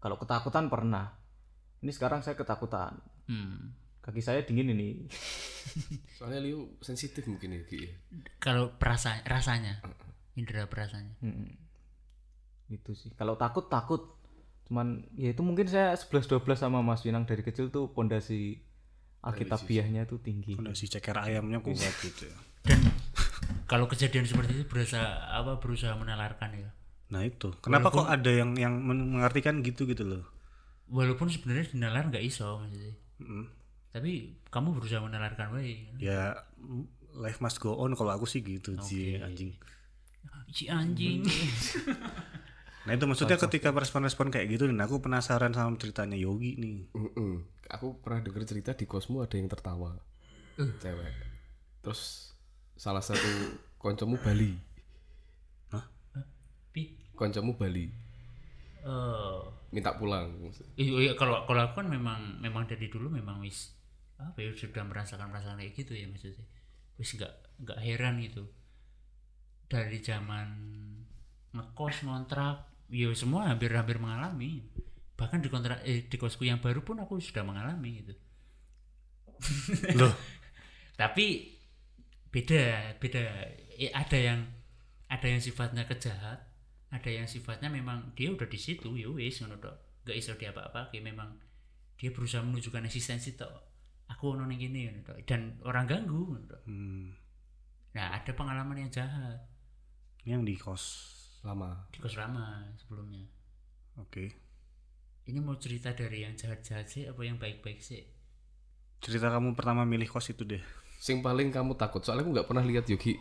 S4: kalau ketakutan pernah ini sekarang saya ketakutan
S3: Hmm.
S4: kaki saya dingin ini
S2: Soalnya Liu sensitif mungkin ya Ki.
S3: Kalau perasa rasanya, indera perasanya.
S4: Mm. Gitu sih. Kalau takut takut. Cuman ya itu mungkin saya 11 12 sama Mas Winang dari kecil tuh pondasi alkitabiahnya tuh tinggi.
S1: fondasi ceker ayamnya
S4: Iya.
S1: kuat gitu ya.
S3: Dan kalau kejadian seperti itu berusaha apa berusaha menalarkan ya.
S1: nah itu kenapa kok ada yang yang men- mengartikan gitu gitu loh
S3: Walaupun sebenarnya dinalar nggak iso maksudnya.
S1: Mm.
S3: Tapi kamu berusaha menalarkan wae.
S1: ya mm, life must go on kalau aku sih gitu sih anjing
S3: Si anjing.
S1: nah itu maksudnya ketika respon-respon kayak gitu dan aku penasaran sama ceritanya Yogi nih
S2: Mm-mm. Aku pernah denger cerita di kosmu ada yang tertawa. Cewek. Terus salah satu koncomu Bali.
S3: Pi.
S2: Koncomu Bali
S3: Oh.
S2: minta pulang.
S3: Iya, iya, kalau kalau aku kan memang memang dari dulu memang wis apa ya sudah merasakan perasaan kayak gitu ya maksudnya wis nggak nggak heran gitu dari zaman ngekos ngontrak ya semua hampir-hampir mengalami bahkan di kontrak eh, di kosku yang baru pun aku sudah mengalami gitu
S1: loh
S3: <laughs> tapi beda beda Eh, ada yang ada yang sifatnya kejahat ada yang sifatnya memang dia udah di situ ya wis ngono tok gak iso dia apa-apa kayak memang dia berusaha menunjukkan eksistensi tok aku ono ning kene ngono tok dan orang ganggu ngono tok
S1: Hmm,
S3: nah ada pengalaman yang jahat
S1: yang di kos
S2: Lama.
S3: di kos lama sebelumnya
S1: oke
S3: ini mau cerita dari yang jahat-jahat sih apa yang baik-baik sih
S1: cerita kamu pertama milih kos itu deh
S2: Sing paling kamu takut. Soalnya aku nggak pernah lihat Yogi.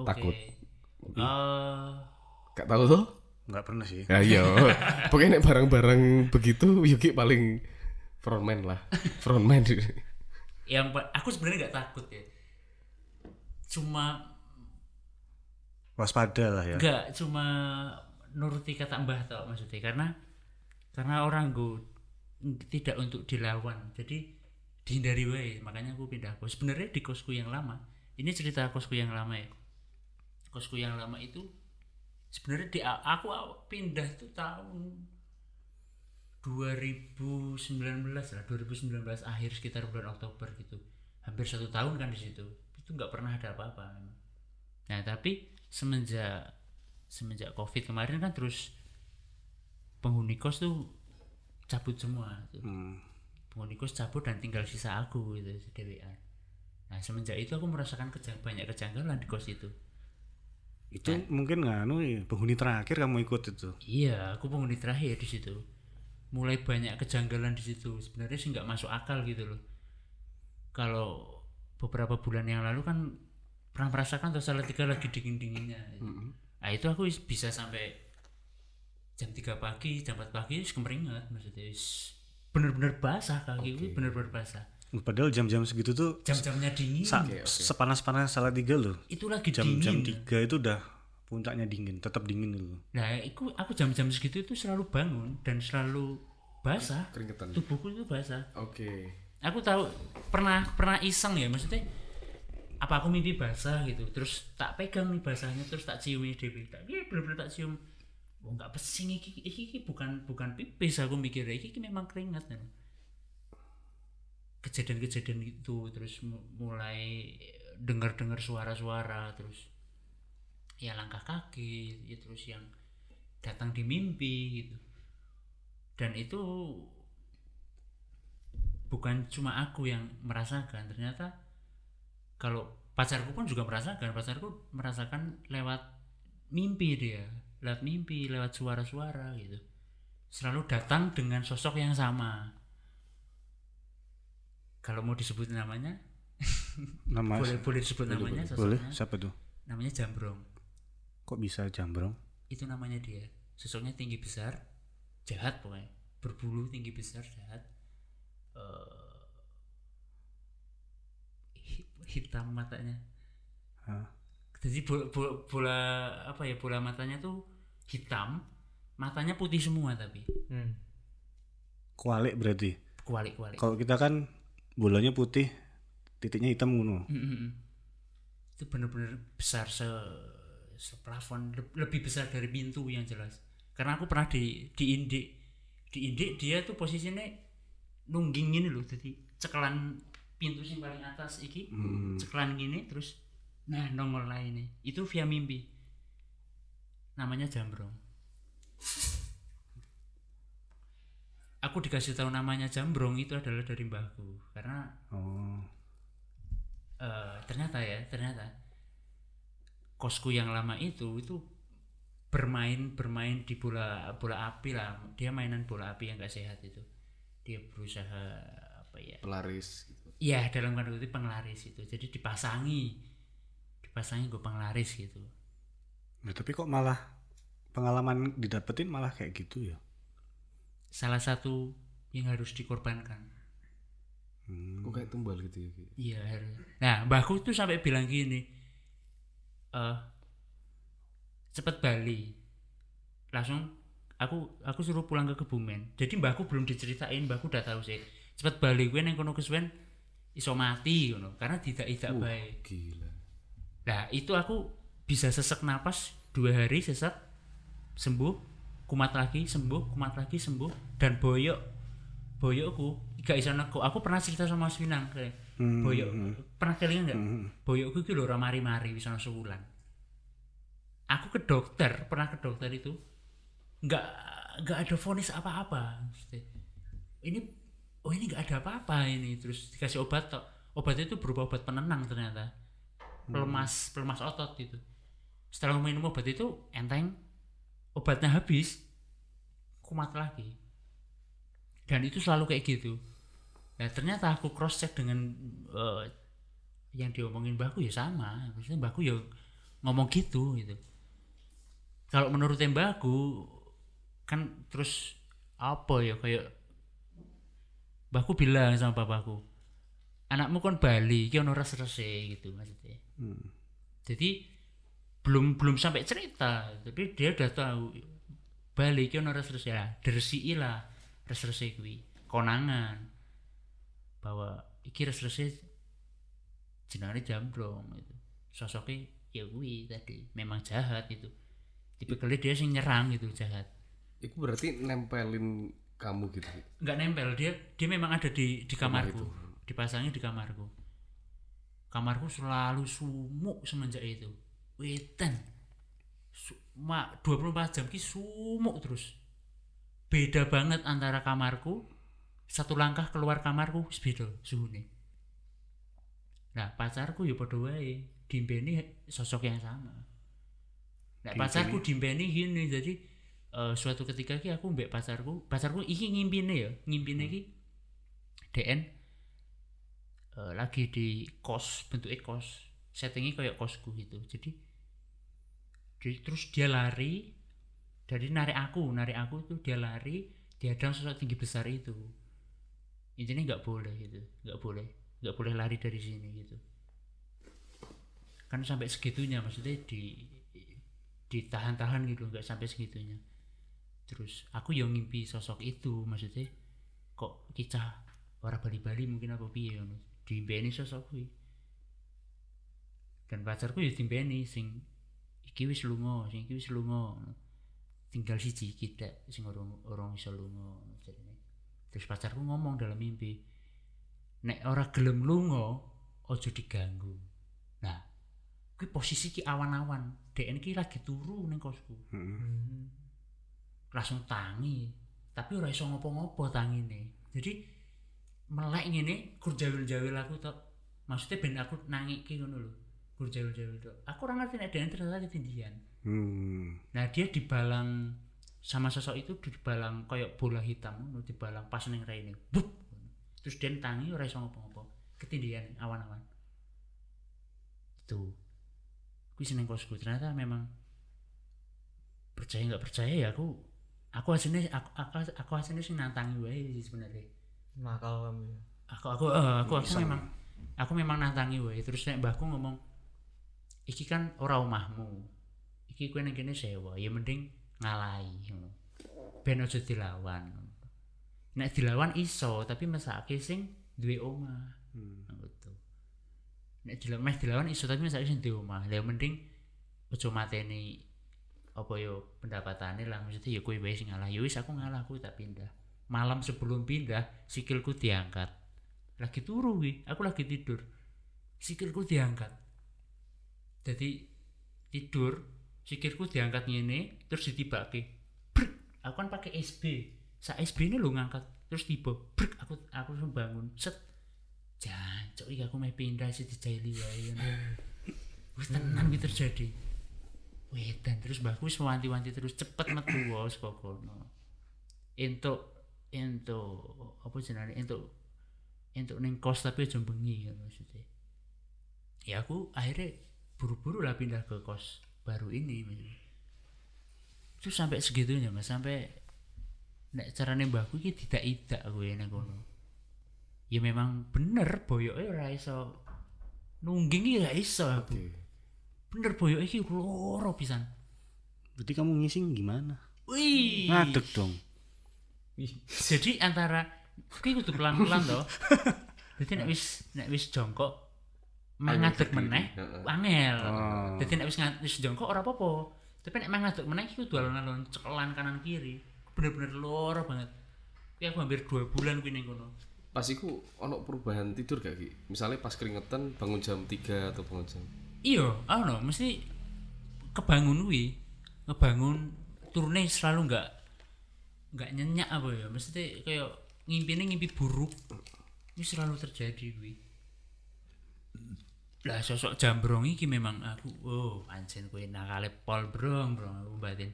S3: oke
S2: Takut.
S3: Eh,
S2: Gak tahu tuh?
S1: nggak pernah sih
S2: Ya iya. <laughs> Pokoknya nek barang-barang begitu Yogi paling frontman lah. Frontman.
S3: yang pa- aku sebenarnya nggak takut ya cuma
S1: waspada lah ya
S3: Enggak, cuma nuruti kata mbah tok maksudnya karena karena orang gue tidak untuk dilawan jadi dihindari wae makanya aku pindah kos sebenarnya di kosku yang lama ini cerita kosku yang lama ya kosku yang lama itu sebenarnya di aku pindah tuh tahun 2019 lah 2019 akhir sekitar bulan Oktober gitu hampir satu tahun kan di situ itu nggak pernah ada apa-apa memang. Nah tapi semenjak semenjak covid kemarin kan terus penghuni kos tuh cabut semua tuh.
S1: Hmm.
S3: penghuni kos cabut dan tinggal sisa aku gitu sedewean. Nah semenjak itu aku merasakan kejang banyak kejanggalan di kos itu.
S1: itu mungkin nganu ya, penghuni terakhir kamu ikut itu
S3: Iya, aku penghuni terakhir di situ. Mulai banyak kejanggalan di situ. Sebenarnya sih nggak masuk akal gitu loh. Kalau beberapa bulan yang lalu kan pernah merasakan tuh salah tiga lagi dingin dinginnya. Nah itu aku is- bisa sampai jam 3 pagi, jam 4 pagi is kemeringat maksudnya is bener-bener basah kaki gue bener-bener basah.
S1: padahal jam-jam segitu tuh
S3: Jam-jamnya dingin.
S1: sa- sepanas-panas salah tiga loh
S3: itu lagi dingin.
S1: jam-jam tiga itu udah puncaknya dingin tetap dingin dulu
S3: Nah, aku aku jam-jam segitu itu selalu bangun dan selalu basah.
S2: Keringetan.
S3: Tubuhku itu basah.
S2: Oke.
S3: aku tahu pernah pernah iseng ya maksudnya apa aku mimpi basah gitu terus tak pegang nih basahnya terus tak cium ini dhewe. tak iya bener-bener tak cium oh nggak pesing iki, iki iki bukan bukan pipis aku mikir iki, iki memang keringat kan kejadian-kejadian itu terus mu- mulai dengar-dengar suara-suara terus ya langkah kaki ya terus yang datang di mimpi gitu dan itu bukan cuma aku yang merasakan ternyata kalau pacarku pun juga merasakan pacarku merasakan lewat mimpi dia lewat mimpi lewat suara-suara gitu selalu datang dengan sosok yang sama kalau mau disebut namanya <laughs>
S1: nama
S3: boleh boleh disebut namanya
S1: boleh
S3: sosoknya
S1: siapa tuh
S3: namanya Jambrong
S1: kok bisa jambrong
S3: itu namanya dia sosoknya tinggi besar jahat pokoknya berbulu tinggi besar jahat Eh, hitam matanya jadi bola, bola, bola apa ya bola matanya tuh hitam matanya putih semua tapi
S4: Hmm.
S1: Kualik berarti.
S3: kualik kualik
S1: Kalau kita kan bolanya putih, titiknya hitam ngono.
S3: Mm, mm, mm. itu bener-bener besar se seplafon le- lebih besar dari pintu yang jelas karena aku pernah di di indik di indik dia tuh posisinya nungging gini loh jadi cekelan pintu yang paling atas iki cekelan gini terus nah nongol lainnya itu via mimpi namanya jambrong aku dikasih tahu namanya jambrong itu adalah dari mbahku karena
S1: Oh.
S3: eh ternyata ya ternyata kosku yang lama itu itu bermain bermain di bola bola api lah dia mainan bola api yang gak sehat itu dia berusaha apa ya
S2: pelaris gitu.
S3: Iya dalam tanda kutip penglaris itu jadi dipasangi dipasangi gue penglaris gitu
S1: Nah, tapi kok malah pengalaman didapetin malah kayak gitu ya?
S3: salah satu yang harus dikorbankan
S1: Hmm.
S2: Kok kayak tumbal gitu ya? Ki?
S3: Iya harus. Nah mbahku tuh sampai bilang gini, eh cepet Bali, langsung aku aku suruh pulang ke Kebumen. Jadi mbahku belum diceritain, mbahku udah tahu sih. Cepet Bali gue neng kono kesuwen iso mati, you know, karena tidak
S2: Uh.
S3: tidak baik.
S2: Gila.
S3: Nah itu aku bisa sesek napas dua hari sesek sembuh kumat lagi sembuh kumat lagi sembuh dan boyok boyokku gak iso neko aku pernah cerita sama Mas Winang kayak
S1: Hmm.
S3: boyok
S1: Mm,
S3: pernah kelingan nggak boyokku itu lho ora mari-mari bisa sewulan aku ke dokter pernah ke dokter itu nggak nggak ada vonis apa-apa Maksudnya, ini oh ini nggak ada apa-apa ini terus dikasih obat tok obatnya itu berupa obat penenang ternyata pelemas pelemas otot gitu setelah minum obat itu enteng obatnya habis kumat lagi dan itu selalu kayak gitu nah ternyata aku cross check dengan eh, yang diomongin mbakku ya sama maksudnya mbakku ya ngomong gitu gitu kalau menurut mbakku kan terus apa ya kayak mbakku bilang sama bapakku anakmu kan Bali iki ono res-rese gitu maksudnya jadi belum belum sampai cerita tapi dia udah tahu Bali iki ono res-rese lah Dresiki lah res-rese kuwi konangan bahwa iki res-rese jenenge jambrong gitu. sosoknya ya kuwi tadi memang jahat gitu tipikalnya dia sing nyerang gitu jahat
S2: Itu berarti nempelin kamu gitu. Ki?
S3: nggak nempel dia dia memang ada di di kamarku dipasangnya di kamarku kamarku selalu sumuk semenjak itu wetan Su- ma 24 jam ki sumuk terus beda banget antara kamarku satu langkah keluar kamarku wis beda suhune nah pacarku ya padha wae dimbeni sosok yang sama nah pacarku dimbeni gini jadi eh, suatu ketika ki aku mbek pacarku pacarku iki ngimpine ya ngimpine ki DN eh, lagi di kos bentuknya kos settingnya kayak kosku gitu jadi jadi terus dia lari dari narik aku narik aku tuh dia lari dihadang sosok tinggi besar itu intinya nggak boleh gitu nggak boleh nggak boleh lari dari sini gitu kan sampai segitunya maksudnya di ditahan-tahan gitu nggak sampai segitunya terus aku yang ngimpi sosok itu maksudnya kok kicah orang Bali-Bali mungkin apa piye ngono diimbeni sosok kuwi dan pacarku ya diimbeni sing iki wis lunga sing iki wis lunga ngono. tinggal siji iki tek sing orang orang iso lunga ngono jarine. terus pacarku ngomong dalam mimpi nek ora gelem lunga ojo diganggu nah kuwi posisi ki awan-awan DN ki lagi turu ning kosku
S1: Mm-hmm.
S3: langsung tangi tapi ora iso ngopo-ngopo tangine jadi melek ngene kur jawil-jawil aku tok maksudnya ben aku nangiki ngono lho kur jawil-jawil tok aku ora ngerti nek DN ternyata ketindihan
S1: Hmm.
S3: nah dia dibalang sama sosok itu dibalang kayak bola hitam ngono dibalang pas ning rene Bup! terus dia tangi ora iso ngopo-ngopo ketindihan awan-awan itu aku seneng kosku ternyata memang percaya nggak percaya ya aku aku hasilnya aku aku, aku hasilnya sih nantangi wae sih sebenarnya Ah,
S4: Nakal kamu ya.
S3: aku aku eh, aku aku memang aku memang nantangi wae terus nek mbahku ngomong iki kan ora omahmu iki kowe nang kene sewa ya mending ngalahi ngono ben aja dilawan nek dilawan iso tapi mesake sing duwe omah ngono Nah, nek dilawan meh dilawan iso tapi mesake sing duwe omah lha mending aja mateni apa yo pendapatane lah maksudnya ya kowe wae sing ngalah ya wis aku ngalah aku tak pindah malam sebelum pindah sikilku diangkat lagi turu wi aku lagi tidur sikilku diangkat jadi tidur sikilku diangkat ngene terus ditibake brek aku kan pakai SB sa SB ini lo ngangkat terus tiba brek aku aku langsung bangun set jancuk iki aku mau pindah sih dijaili wae wis tenan iki terjadi wedan terus mbahku wis wanti-wanti terus cepet metu wae saka kono entuk entuk apa jenenge entuk entuk ning kos tapi aja bengi ngono maksudnya ya aku akhirnya buru-buru lah pindah ke kos baru ini maksudnya. terus sampai segitunya mas sampai nek carane mbahku iki tidak tidak gue nang kono ya memang bener boyoke ora iso nungging iki gak iso aku bener boyoke iki loro pisan
S1: Berarti kamu ngising gimana?
S3: wih
S1: Ngadeg dong.
S3: jadi antara kuwi kudu pelan-pelan to. Dadi nek wis nek wis jongkok meh ngadeg meneh
S2: gitu.
S3: angel. Dadi nek wis ngad- wis jongkok ora apa-apa. Tapi nek meh ngadeg meneh iki kudu alon-alon cekelan kanan kiri. Bener-bener loro banget. Kuwi aku hampir 2 bulan kuwi ning kono.
S2: Pas iku ono perubahan tidur gak Ki? Misalnya pas keringetan bangun jam 3 atau bangun jam.
S3: Iya, ono mesti kebangun kuwi. Kebangun turune selalu enggak enggak nyenyak apa ya. Mesti kayak ngimpine ngimpi buruk. Ini selalu terjadi kuwi. Lah sosok jambrong iki memang aku oh pancen kowe nakale pol brong brong aku batin.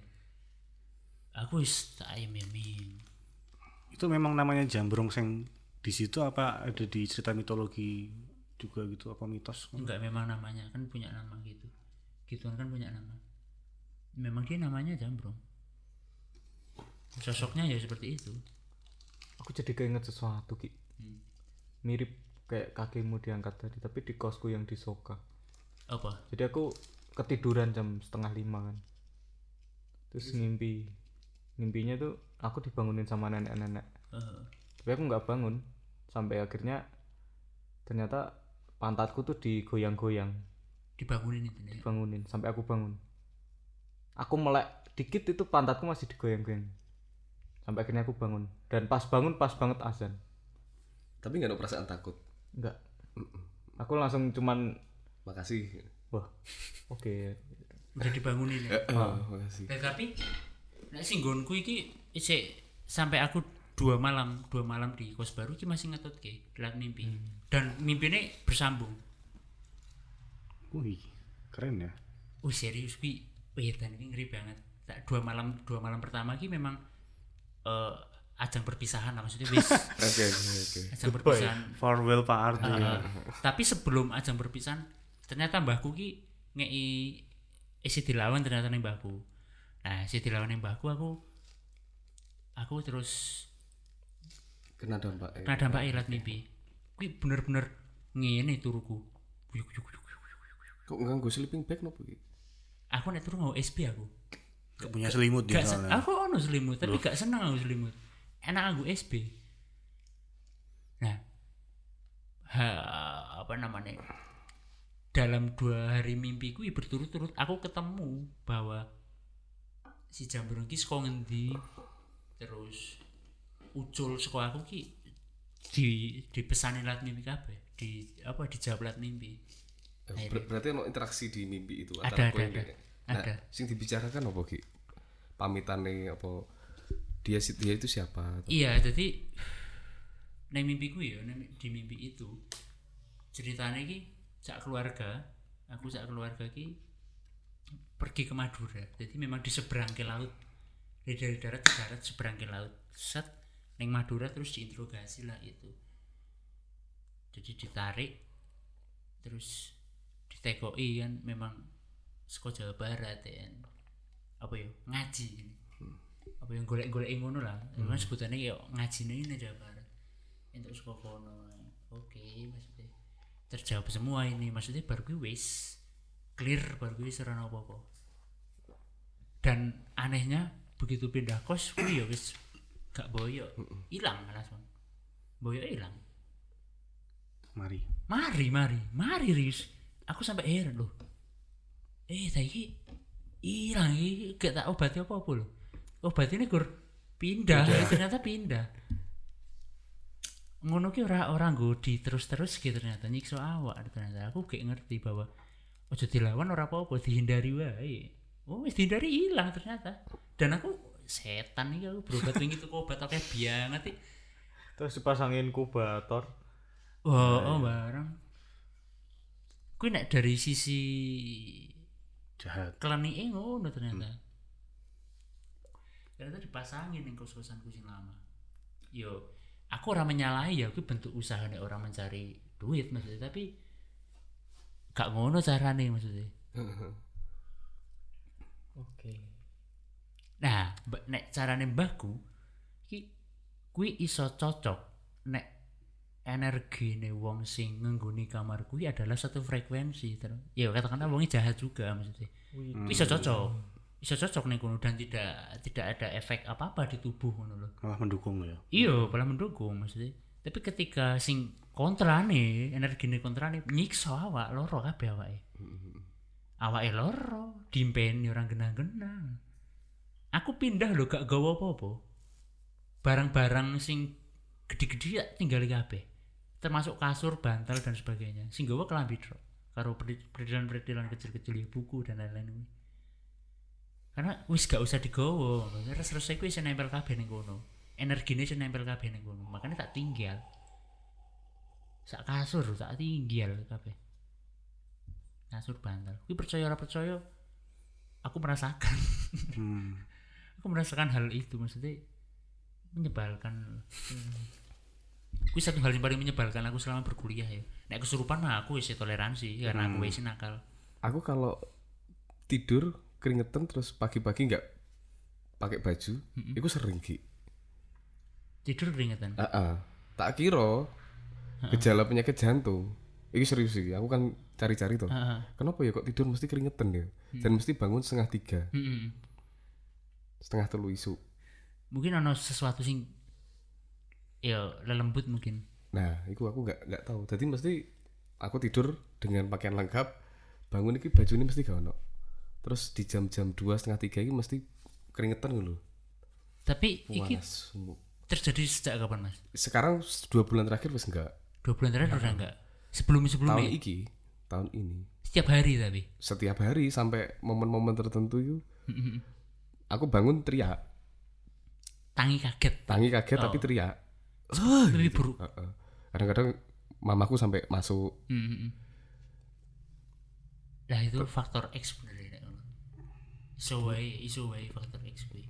S3: Aku wis tak ayem-ayemi.
S1: Itu memang namanya jambrong sing di situ apa ada di cerita mitologi juga gitu apa mitos?
S3: enggak memang namanya kan punya nama gitu gituan kan punya nama memang dia namanya jambrong sosoknya ya seperti itu
S4: aku jadi keinget sesuatu ki mirip kayak kakimu diangkat tadi tapi di kosku yang di Soka
S3: apa
S4: jadi aku ketiduran jam setengah lima kan terus ngimpi ngimpinya tuh aku dibangunin sama nenek-nenek
S3: Eh,
S4: tapi aku nggak bangun sampai akhirnya ternyata pantatku tuh digoyang-goyang
S3: dibangunin itu nih
S4: dibangunin sampai aku bangun aku melek dikit itu pantatku masih digoyang-goyang sampai akhirnya aku bangun dan pas bangun pas banget azan
S2: Tapi nggak ada perasaan takut.
S4: enggak aku langsung cuman
S2: Makasih.
S4: wah oke
S3: udah dibangunin ya
S2: Oh, makasih.
S3: Nah, tapi nek singgonku iki isih sampai aku dua malam dua malam di kos baru iki masih ngetot ke lewat mimpi dan mimpinya bersambung
S1: Wih, keren ya.
S3: oh serius ki wedan ini ngeri banget tak dua malam dua malam pertama ki memang eh ajang perpisahan lah maksudnya wis
S2: Oke, oke, oke.
S3: ajang perpisahan
S1: Farewell Pak Ardi.
S3: Eh, tapi sebelum ajang perpisahan ternyata mbahku ki ngei isi dilawan ternyata nih mbahku nah isi dilawan nih mbahku aku aku terus
S2: Kena dampak. ya.
S3: kena dampak ilat mimpi ki bener-bener ngene turuku Yuk, yuk, yuk, yuk.
S2: Kok nganggo sleeping bag nopo Ki? Eh,
S3: aku nek turu mau SP aku
S1: Gak Ah. punya selimut gitu dia
S3: Gak sen-
S1: soalnya.
S3: aku ono selimut, tapi gak seneng aku selimut. Enak aku SB. Nah, ha, apa namanya? Dalam dua hari mimpiku ya berturut-turut aku ketemu bahwa si jambrong ki saka ngendi terus ucul saka aku ki di dipesani lat mimpi kabeh di apa dijawab lat mimpi
S2: Eh, ber- berarti ono interaksi di mimpi itu
S3: Ada,
S2: kowe
S3: ada,
S2: mbek-
S3: ada.
S2: Nah,
S3: Ada.
S2: sing dibicarakan apa Ki? Pamitane apa dia si- dia itu siapa?
S3: Iya, jadi <sighs> neng mimpiku ya, neng di mimpi itu ceritanya ki sak keluarga, aku sak keluarga ki pergi ke Madura. Jadi memang di seberang ke laut. Dari dari darat ke darat seberang ke laut. Set neng Madura terus diinterogasi lah itu. Jadi ditarik terus ditekoi kan memang sekolah Jawa Barat ya. Apa ya? Ngaji ini apa yang golek-golek ngono lah. Emang sebutannya ya ngajine ini Jawa Barat. Entuk saka kono. Oke, maksudnya. terjawab semua ini maksudnya baru gue wis clear baru gue serana apa apa dan anehnya begitu pindah kos gue ya wis gak boyo hilang langsung boyo hilang
S1: mari
S3: mari mari mari Riz aku sampai heran loh eh tadi hilang iki gak tak obati apa apa loh obat ini gur pindah ternyata pindah ngono ki ora orang godi terus terus gitu ternyata nyiksa awak ternyata aku gak ngerti bahwa ojo dilawan ora apa apa dihindari wae oh wis dihindari hilang ternyata dan aku setan nih aku berobat wingi tuku obat akeh banget iki.
S4: Terus dipasangin inkubator.
S3: Oh, oh barang. Kuwi nek dari sisi
S1: jahat
S3: kelanike ngono ternyata. Ternyata dipasangin yang kos-kosan kucing lama. Yo, aku ora menyalahi ya kuwi bentuk usaha nek orang mencari duit maksudnya, tapi gak ngono carane maksudnya.
S4: Oke.
S3: Nah, mba- nek carane mbahku iki kuwi iso cocok nek energine wong sing ngenggoni kamar kuwi adalah satu frekuensi terus. Ya katakanlah wongnya jahat juga maksudnya. Iso cocok. Iso cocok ning kono dan tidak tidak ada efek apa-apa di tubuh ngono lho.
S1: malah mendukung ya
S3: Iya, malah mendukung maksudnya. Tapi ketika sing kontrane, energine kontrane nyiksa awak loro kabeh awake. Awake loro, dimpeni orang genang-genang. Aku pindah lho gak gawa apa-apa. Barang-barang sing gede-gede ya tinggal kabeh. Termasuk kasur, bantal dan sebagainya. Sing gawa kelambi tok. Karo peri- peredilan-peredilan kecil-kecil ya buku dan lain-lain. karena wis gak usah digowo terus selesai ku bisa nempel kabeh ning kono energine bisa nempel kabeh ning kono makanya tak tinggal sak kasur tak tinggal kabeh kasur bantal kuwi percaya ora percaya aku merasakan <laughs>
S1: hmm.
S3: aku merasakan hal itu maksudnya menyebalkan kuwi satu hal yang paling menyebalkan aku selama berkuliah ya nek kesurupan mah aku isi toleransi ya, karena aku isi nakal
S2: aku kalau tidur keringetan terus pagi-pagi nggak pakai baju itu sering Ki.
S3: tidur keringetan
S2: Ah, ah. tak kira gejala penyakit jantung itu serius sih aku kan cari-cari tuh
S3: Heeh. Hmm.
S2: kenapa ya kok tidur mesti keringetan ya dan mesti bangun setengah tiga
S3: Mm-mm.
S2: setengah telu isu
S3: mungkin ono sesuatu sing ya lelembut mungkin
S2: nah itu aku nggak nggak tahu jadi mesti aku tidur dengan pakaian lengkap bangun iki baju ini mesti gak ono terus di jam-jam dua setengah tiga ini mesti keringetan dulu
S3: tapi iki
S2: panas
S3: terjadi sejak kapan mas
S2: sekarang dua bulan terakhir wes enggak
S3: dua bulan terakhir udah enggak sebelum
S2: Ya. tahun
S3: sebelumnya
S2: iki tahun ini
S3: setiap hari tapi
S2: setiap hari sampai momen-momen tertentu itu aku bangun teriak
S3: tangi kaget
S2: tangi kaget tapi teriak Ah,
S3: lebih
S2: gitu.
S3: buruk
S2: Heeh. kadang-kadang mamaku sampai masuk
S3: Mm-mm. nah itu faktor X sebenarnya Nek. iso wae iso wae faktor X kuwi.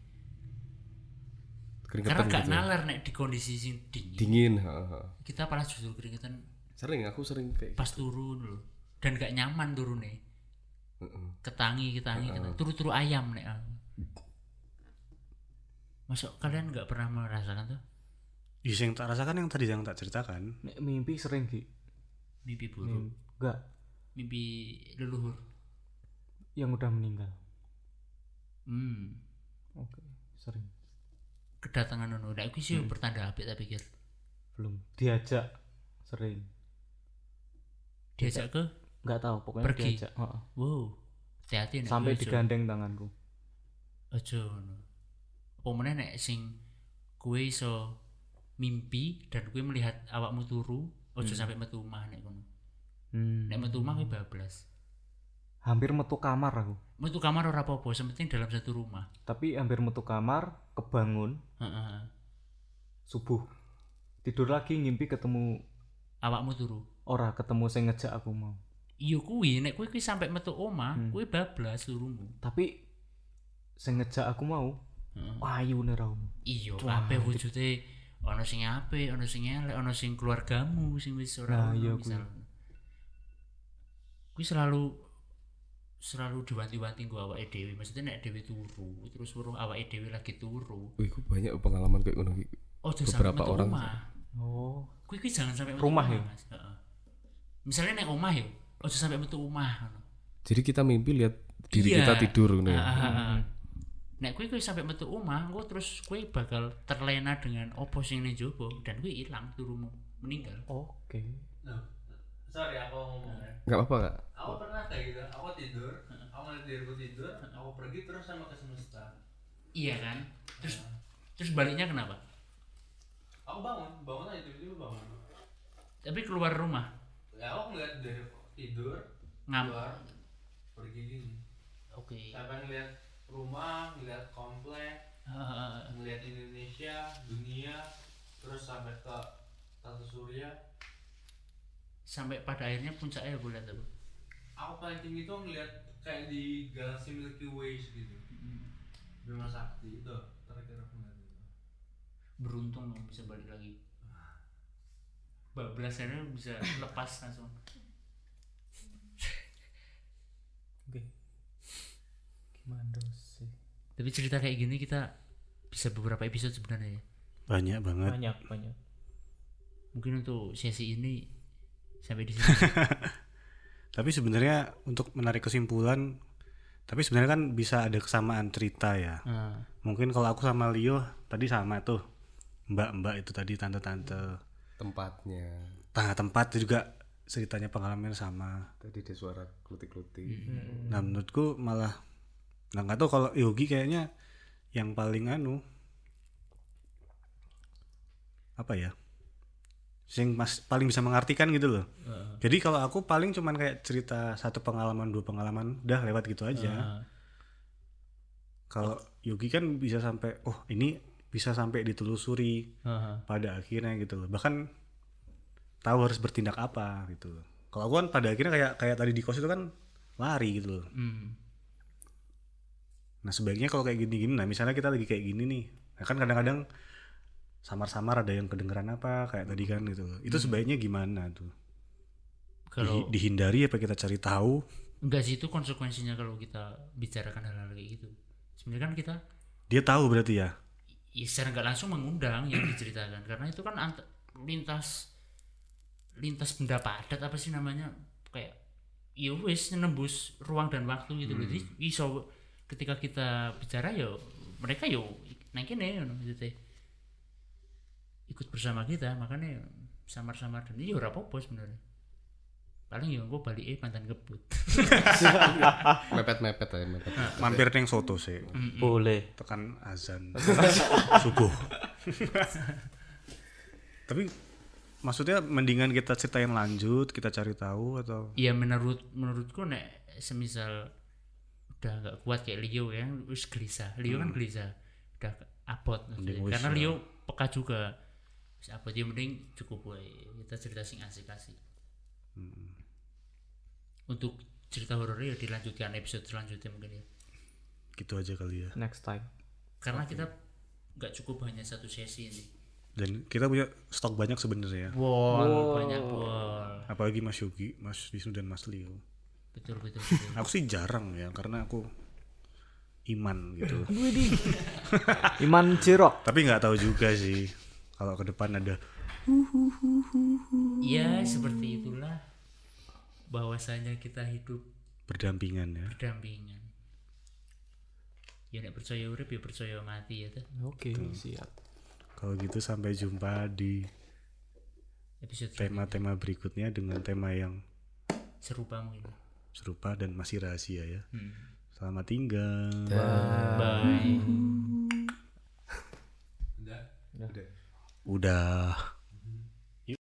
S3: karena
S2: keringetan
S3: gak
S2: gitu
S3: nalar nek di kondisi sing dingin
S2: dingin heeh.
S3: kita malah justru keringetan
S2: sering aku sering kayak gitu.
S3: pas turun loh dan gak nyaman turunnya ketangi ketangi
S2: Ah.
S3: ketangi turu-turu ayam nek
S2: Mm.
S3: aku. masuk kalian nggak pernah merasakan tuh
S1: Iya, yang tak rasakan yang tadi yang tak ceritakan
S4: Nek mimpi sering Ki.
S3: mimpi buruk
S4: Enggak,
S3: mimpi leluhur
S4: yang udah meninggal.
S3: hmm.
S4: Oke, sering.
S3: kedatangan nono nek aku sih pertanda apik tak pikir
S4: Belum diajak sering.
S3: diajak ke
S4: Enggak tahu, pokoknya
S3: Pergi.
S4: diajak. Heeh.
S3: wow hati-hati nek
S4: Sampai
S3: ojo-
S4: digandeng tanganku.
S3: ojo ngono. apa meneh nek sing kue iso mimpi dan kue melihat awakmu turu ojo sampai metu omah nek kono
S4: Hmm.
S3: nek metu omah kue bablas
S4: Hampir metu kamar aku.
S3: metu kamar ora apa-apa sementing dalam satu rumah
S4: Tapi hampir metu kamar, kebangun
S3: Heeh.
S4: subuh. Tidur lagi ngimpi ketemu
S3: awakmu turu
S4: ora ketemu sing ngejak aku mau.
S3: iya kuwi nek kuwi kuwi sampe metu omah kuwi bablas surumu
S4: Tapi sing ngejak aku mau ayu nih raumu.
S3: iya ape wujude ana sing apik ana sing elek ana sing keluargamu sing wis ora
S4: Nah,
S3: ono,
S4: iya
S3: misal. kuwi selalu selalu diwanti-wanti nggo awake dhewe maksudnya nek dhewe turu terus weruh awake dhewe lagi turu
S2: Wih, aku banyak pengalaman kayak ngono Ki.
S3: ojo sampe
S2: Beberapa
S3: metu
S2: orang-
S3: omah
S4: Oh,
S3: kuwi kuwi jangan sampe metu
S4: Rumah ya?
S3: Mas. Heeh. misalnya naik omah yo ojo sampai metu omah ngono.
S2: Jadi kita mimpi lihat diri
S3: Iya.
S2: kita tidur gitu
S3: Ah,
S2: ya.
S3: ah,
S4: Hmm.
S3: ah. Nek kue kue sampai metu omah, gue terus kue bakal terlena dengan opo sing ning jopo dan kue hilang turumu meninggal.
S4: Oke.
S5: Nah, sorry aku ngomong ya.
S2: Enggak apa-apa, Kak.
S5: Aku pernah kayak gitu. Aku tidur, aku ngeliat diriku tidur, aku pergi terus sama ke semesta.
S3: Iya kan? Terus terus baliknya kenapa?
S5: Aku bangun, bangun aja tiba-tiba bangun.
S3: Tapi keluar rumah
S5: Ya aku ngeliat dari tidur,
S3: ngam. Iya.
S5: keluar, pergi gini.
S3: Oke.
S5: Sampai ngeliat rumah, ngeliat komplek,
S3: Ah, ah, ah.
S5: ngeliat Indonesia, dunia, terus sampai ke Tata Surya.
S3: Sampai pada akhirnya puncaknya gue lihat apa?
S5: Aku paling tinggi tuh ngeliat kayak di galaksi Milky Way gitu. Bima Sakti itu terakhir aku ngeliat itu.
S3: Beruntung dong bisa balik lagi. Bablasannya bisa lepas langsung.
S4: Oke. Gimana sih?
S3: Tapi cerita kayak gini kita bisa beberapa episode sebenarnya ya.
S1: Banyak banget.
S4: Banyak banyak.
S3: Mungkin untuk sesi ini sampai di sini.
S1: Tapi sebenarnya untuk menarik kesimpulan, tapi sebenarnya kan bisa ada kesamaan cerita ya.
S3: Ah.
S1: Mungkin kalau aku sama Leo tadi sama tuh mbak-mbak itu tadi tante-tante.
S2: Tempatnya.
S1: Nah tempat juga ceritanya pengalaman sama.
S2: Tadi ada suara klutik-klutik.
S1: Nah menurutku malah, nah nggak tahu kalau Yogi kayaknya yang paling anu apa ya? Sing mas, paling bisa mengartikan gitu loh. Jadi kalau aku paling cuman kayak cerita satu pengalaman dua pengalaman udah lewat gitu aja.
S3: Ah.
S1: kalau Yogi kan bisa sampai oh ini bisa sampai ditelusuri pada akhirnya gitu loh bahkan tahu harus bertindak apa gitu loh kalau aku kan pada akhirnya kayak kayak tadi di kos itu kan lari gitu loh
S3: Hmm.
S1: nah sebaiknya kalau kayak gini-gini nah misalnya kita lagi kayak gini nih nah, kan kadang-kadang samar-samar ada yang kedengeran apa kayak tadi kan gitu loh itu sebaiknya gimana tuh
S3: Kalau
S1: Di- dihindari apa kita cari tahu
S3: enggak sih itu konsekuensinya kalau kita bicarakan hal-hal kayak gitu. Sebenarnya kan kita
S1: dia tahu berarti ya
S3: ya secara nggak langsung mengundang yang diceritakan karena itu kan ant- lintas lintas benda padat apa sih namanya kayak ya wis nembus ruang dan waktu gitu loh jadi iso ketika kita bicara ya mereka yo nang kene ngono maksudnya. ikut bersama kita makanya ya samar-samar dan ya ora apa-apa sebenarnya paling ya gue balik eh mantan kebut
S2: Mepet-mepet aja, mepet.
S1: mampir neng soto sih
S4: hmm. Boleh.
S1: tekan azan subuh. Tapi maksudnya mendingan kita ceritain lanjut, kita cari tahu atau
S3: ya menurut menurutku nek semisal udah nggak kuat kayak Leo ya wis gelisah Leo kan gelisah udah abot maksudnya.
S1: Hmm. wis
S3: karena
S1: lah.
S3: Leo peka juga wis abot ya mending cukup wae kita cerita sing asik-asik
S1: Hmm.
S3: untuk cerita horor ya dilanjutkan episode selanjutnya mungkin ya
S1: gitu aja kali ya.
S4: Next time.
S3: karena kita nggak cukup hanya satu sesi ini
S1: Dan kita punya stok banyak sebenarnya. ya.
S3: wall banyak wall
S1: Apalagi Mas Yogi, Mas Wisnu dan Mas Leo.
S3: betul betul, betul.
S1: Aku sih jarang ya karena aku iman
S4: <laughs>
S1: gitu.
S4: Iman Jirok.
S1: Tapi nggak tahu juga sih kalau ke depan ada
S3: ya seperti itulah bahwasanya kita hidup
S1: berdampingan ya.
S3: berdampingan ya nek percaya urip ya percaya mati ya tuh
S4: Oke, siap.
S1: Kalau gitu sampai jumpa di
S3: episode
S1: tema-tema berikutnya dengan tema yang
S3: serupa mungkin
S1: serupa dan masih rahasia ya. Selamat tinggal.
S3: bye
S1: Udah.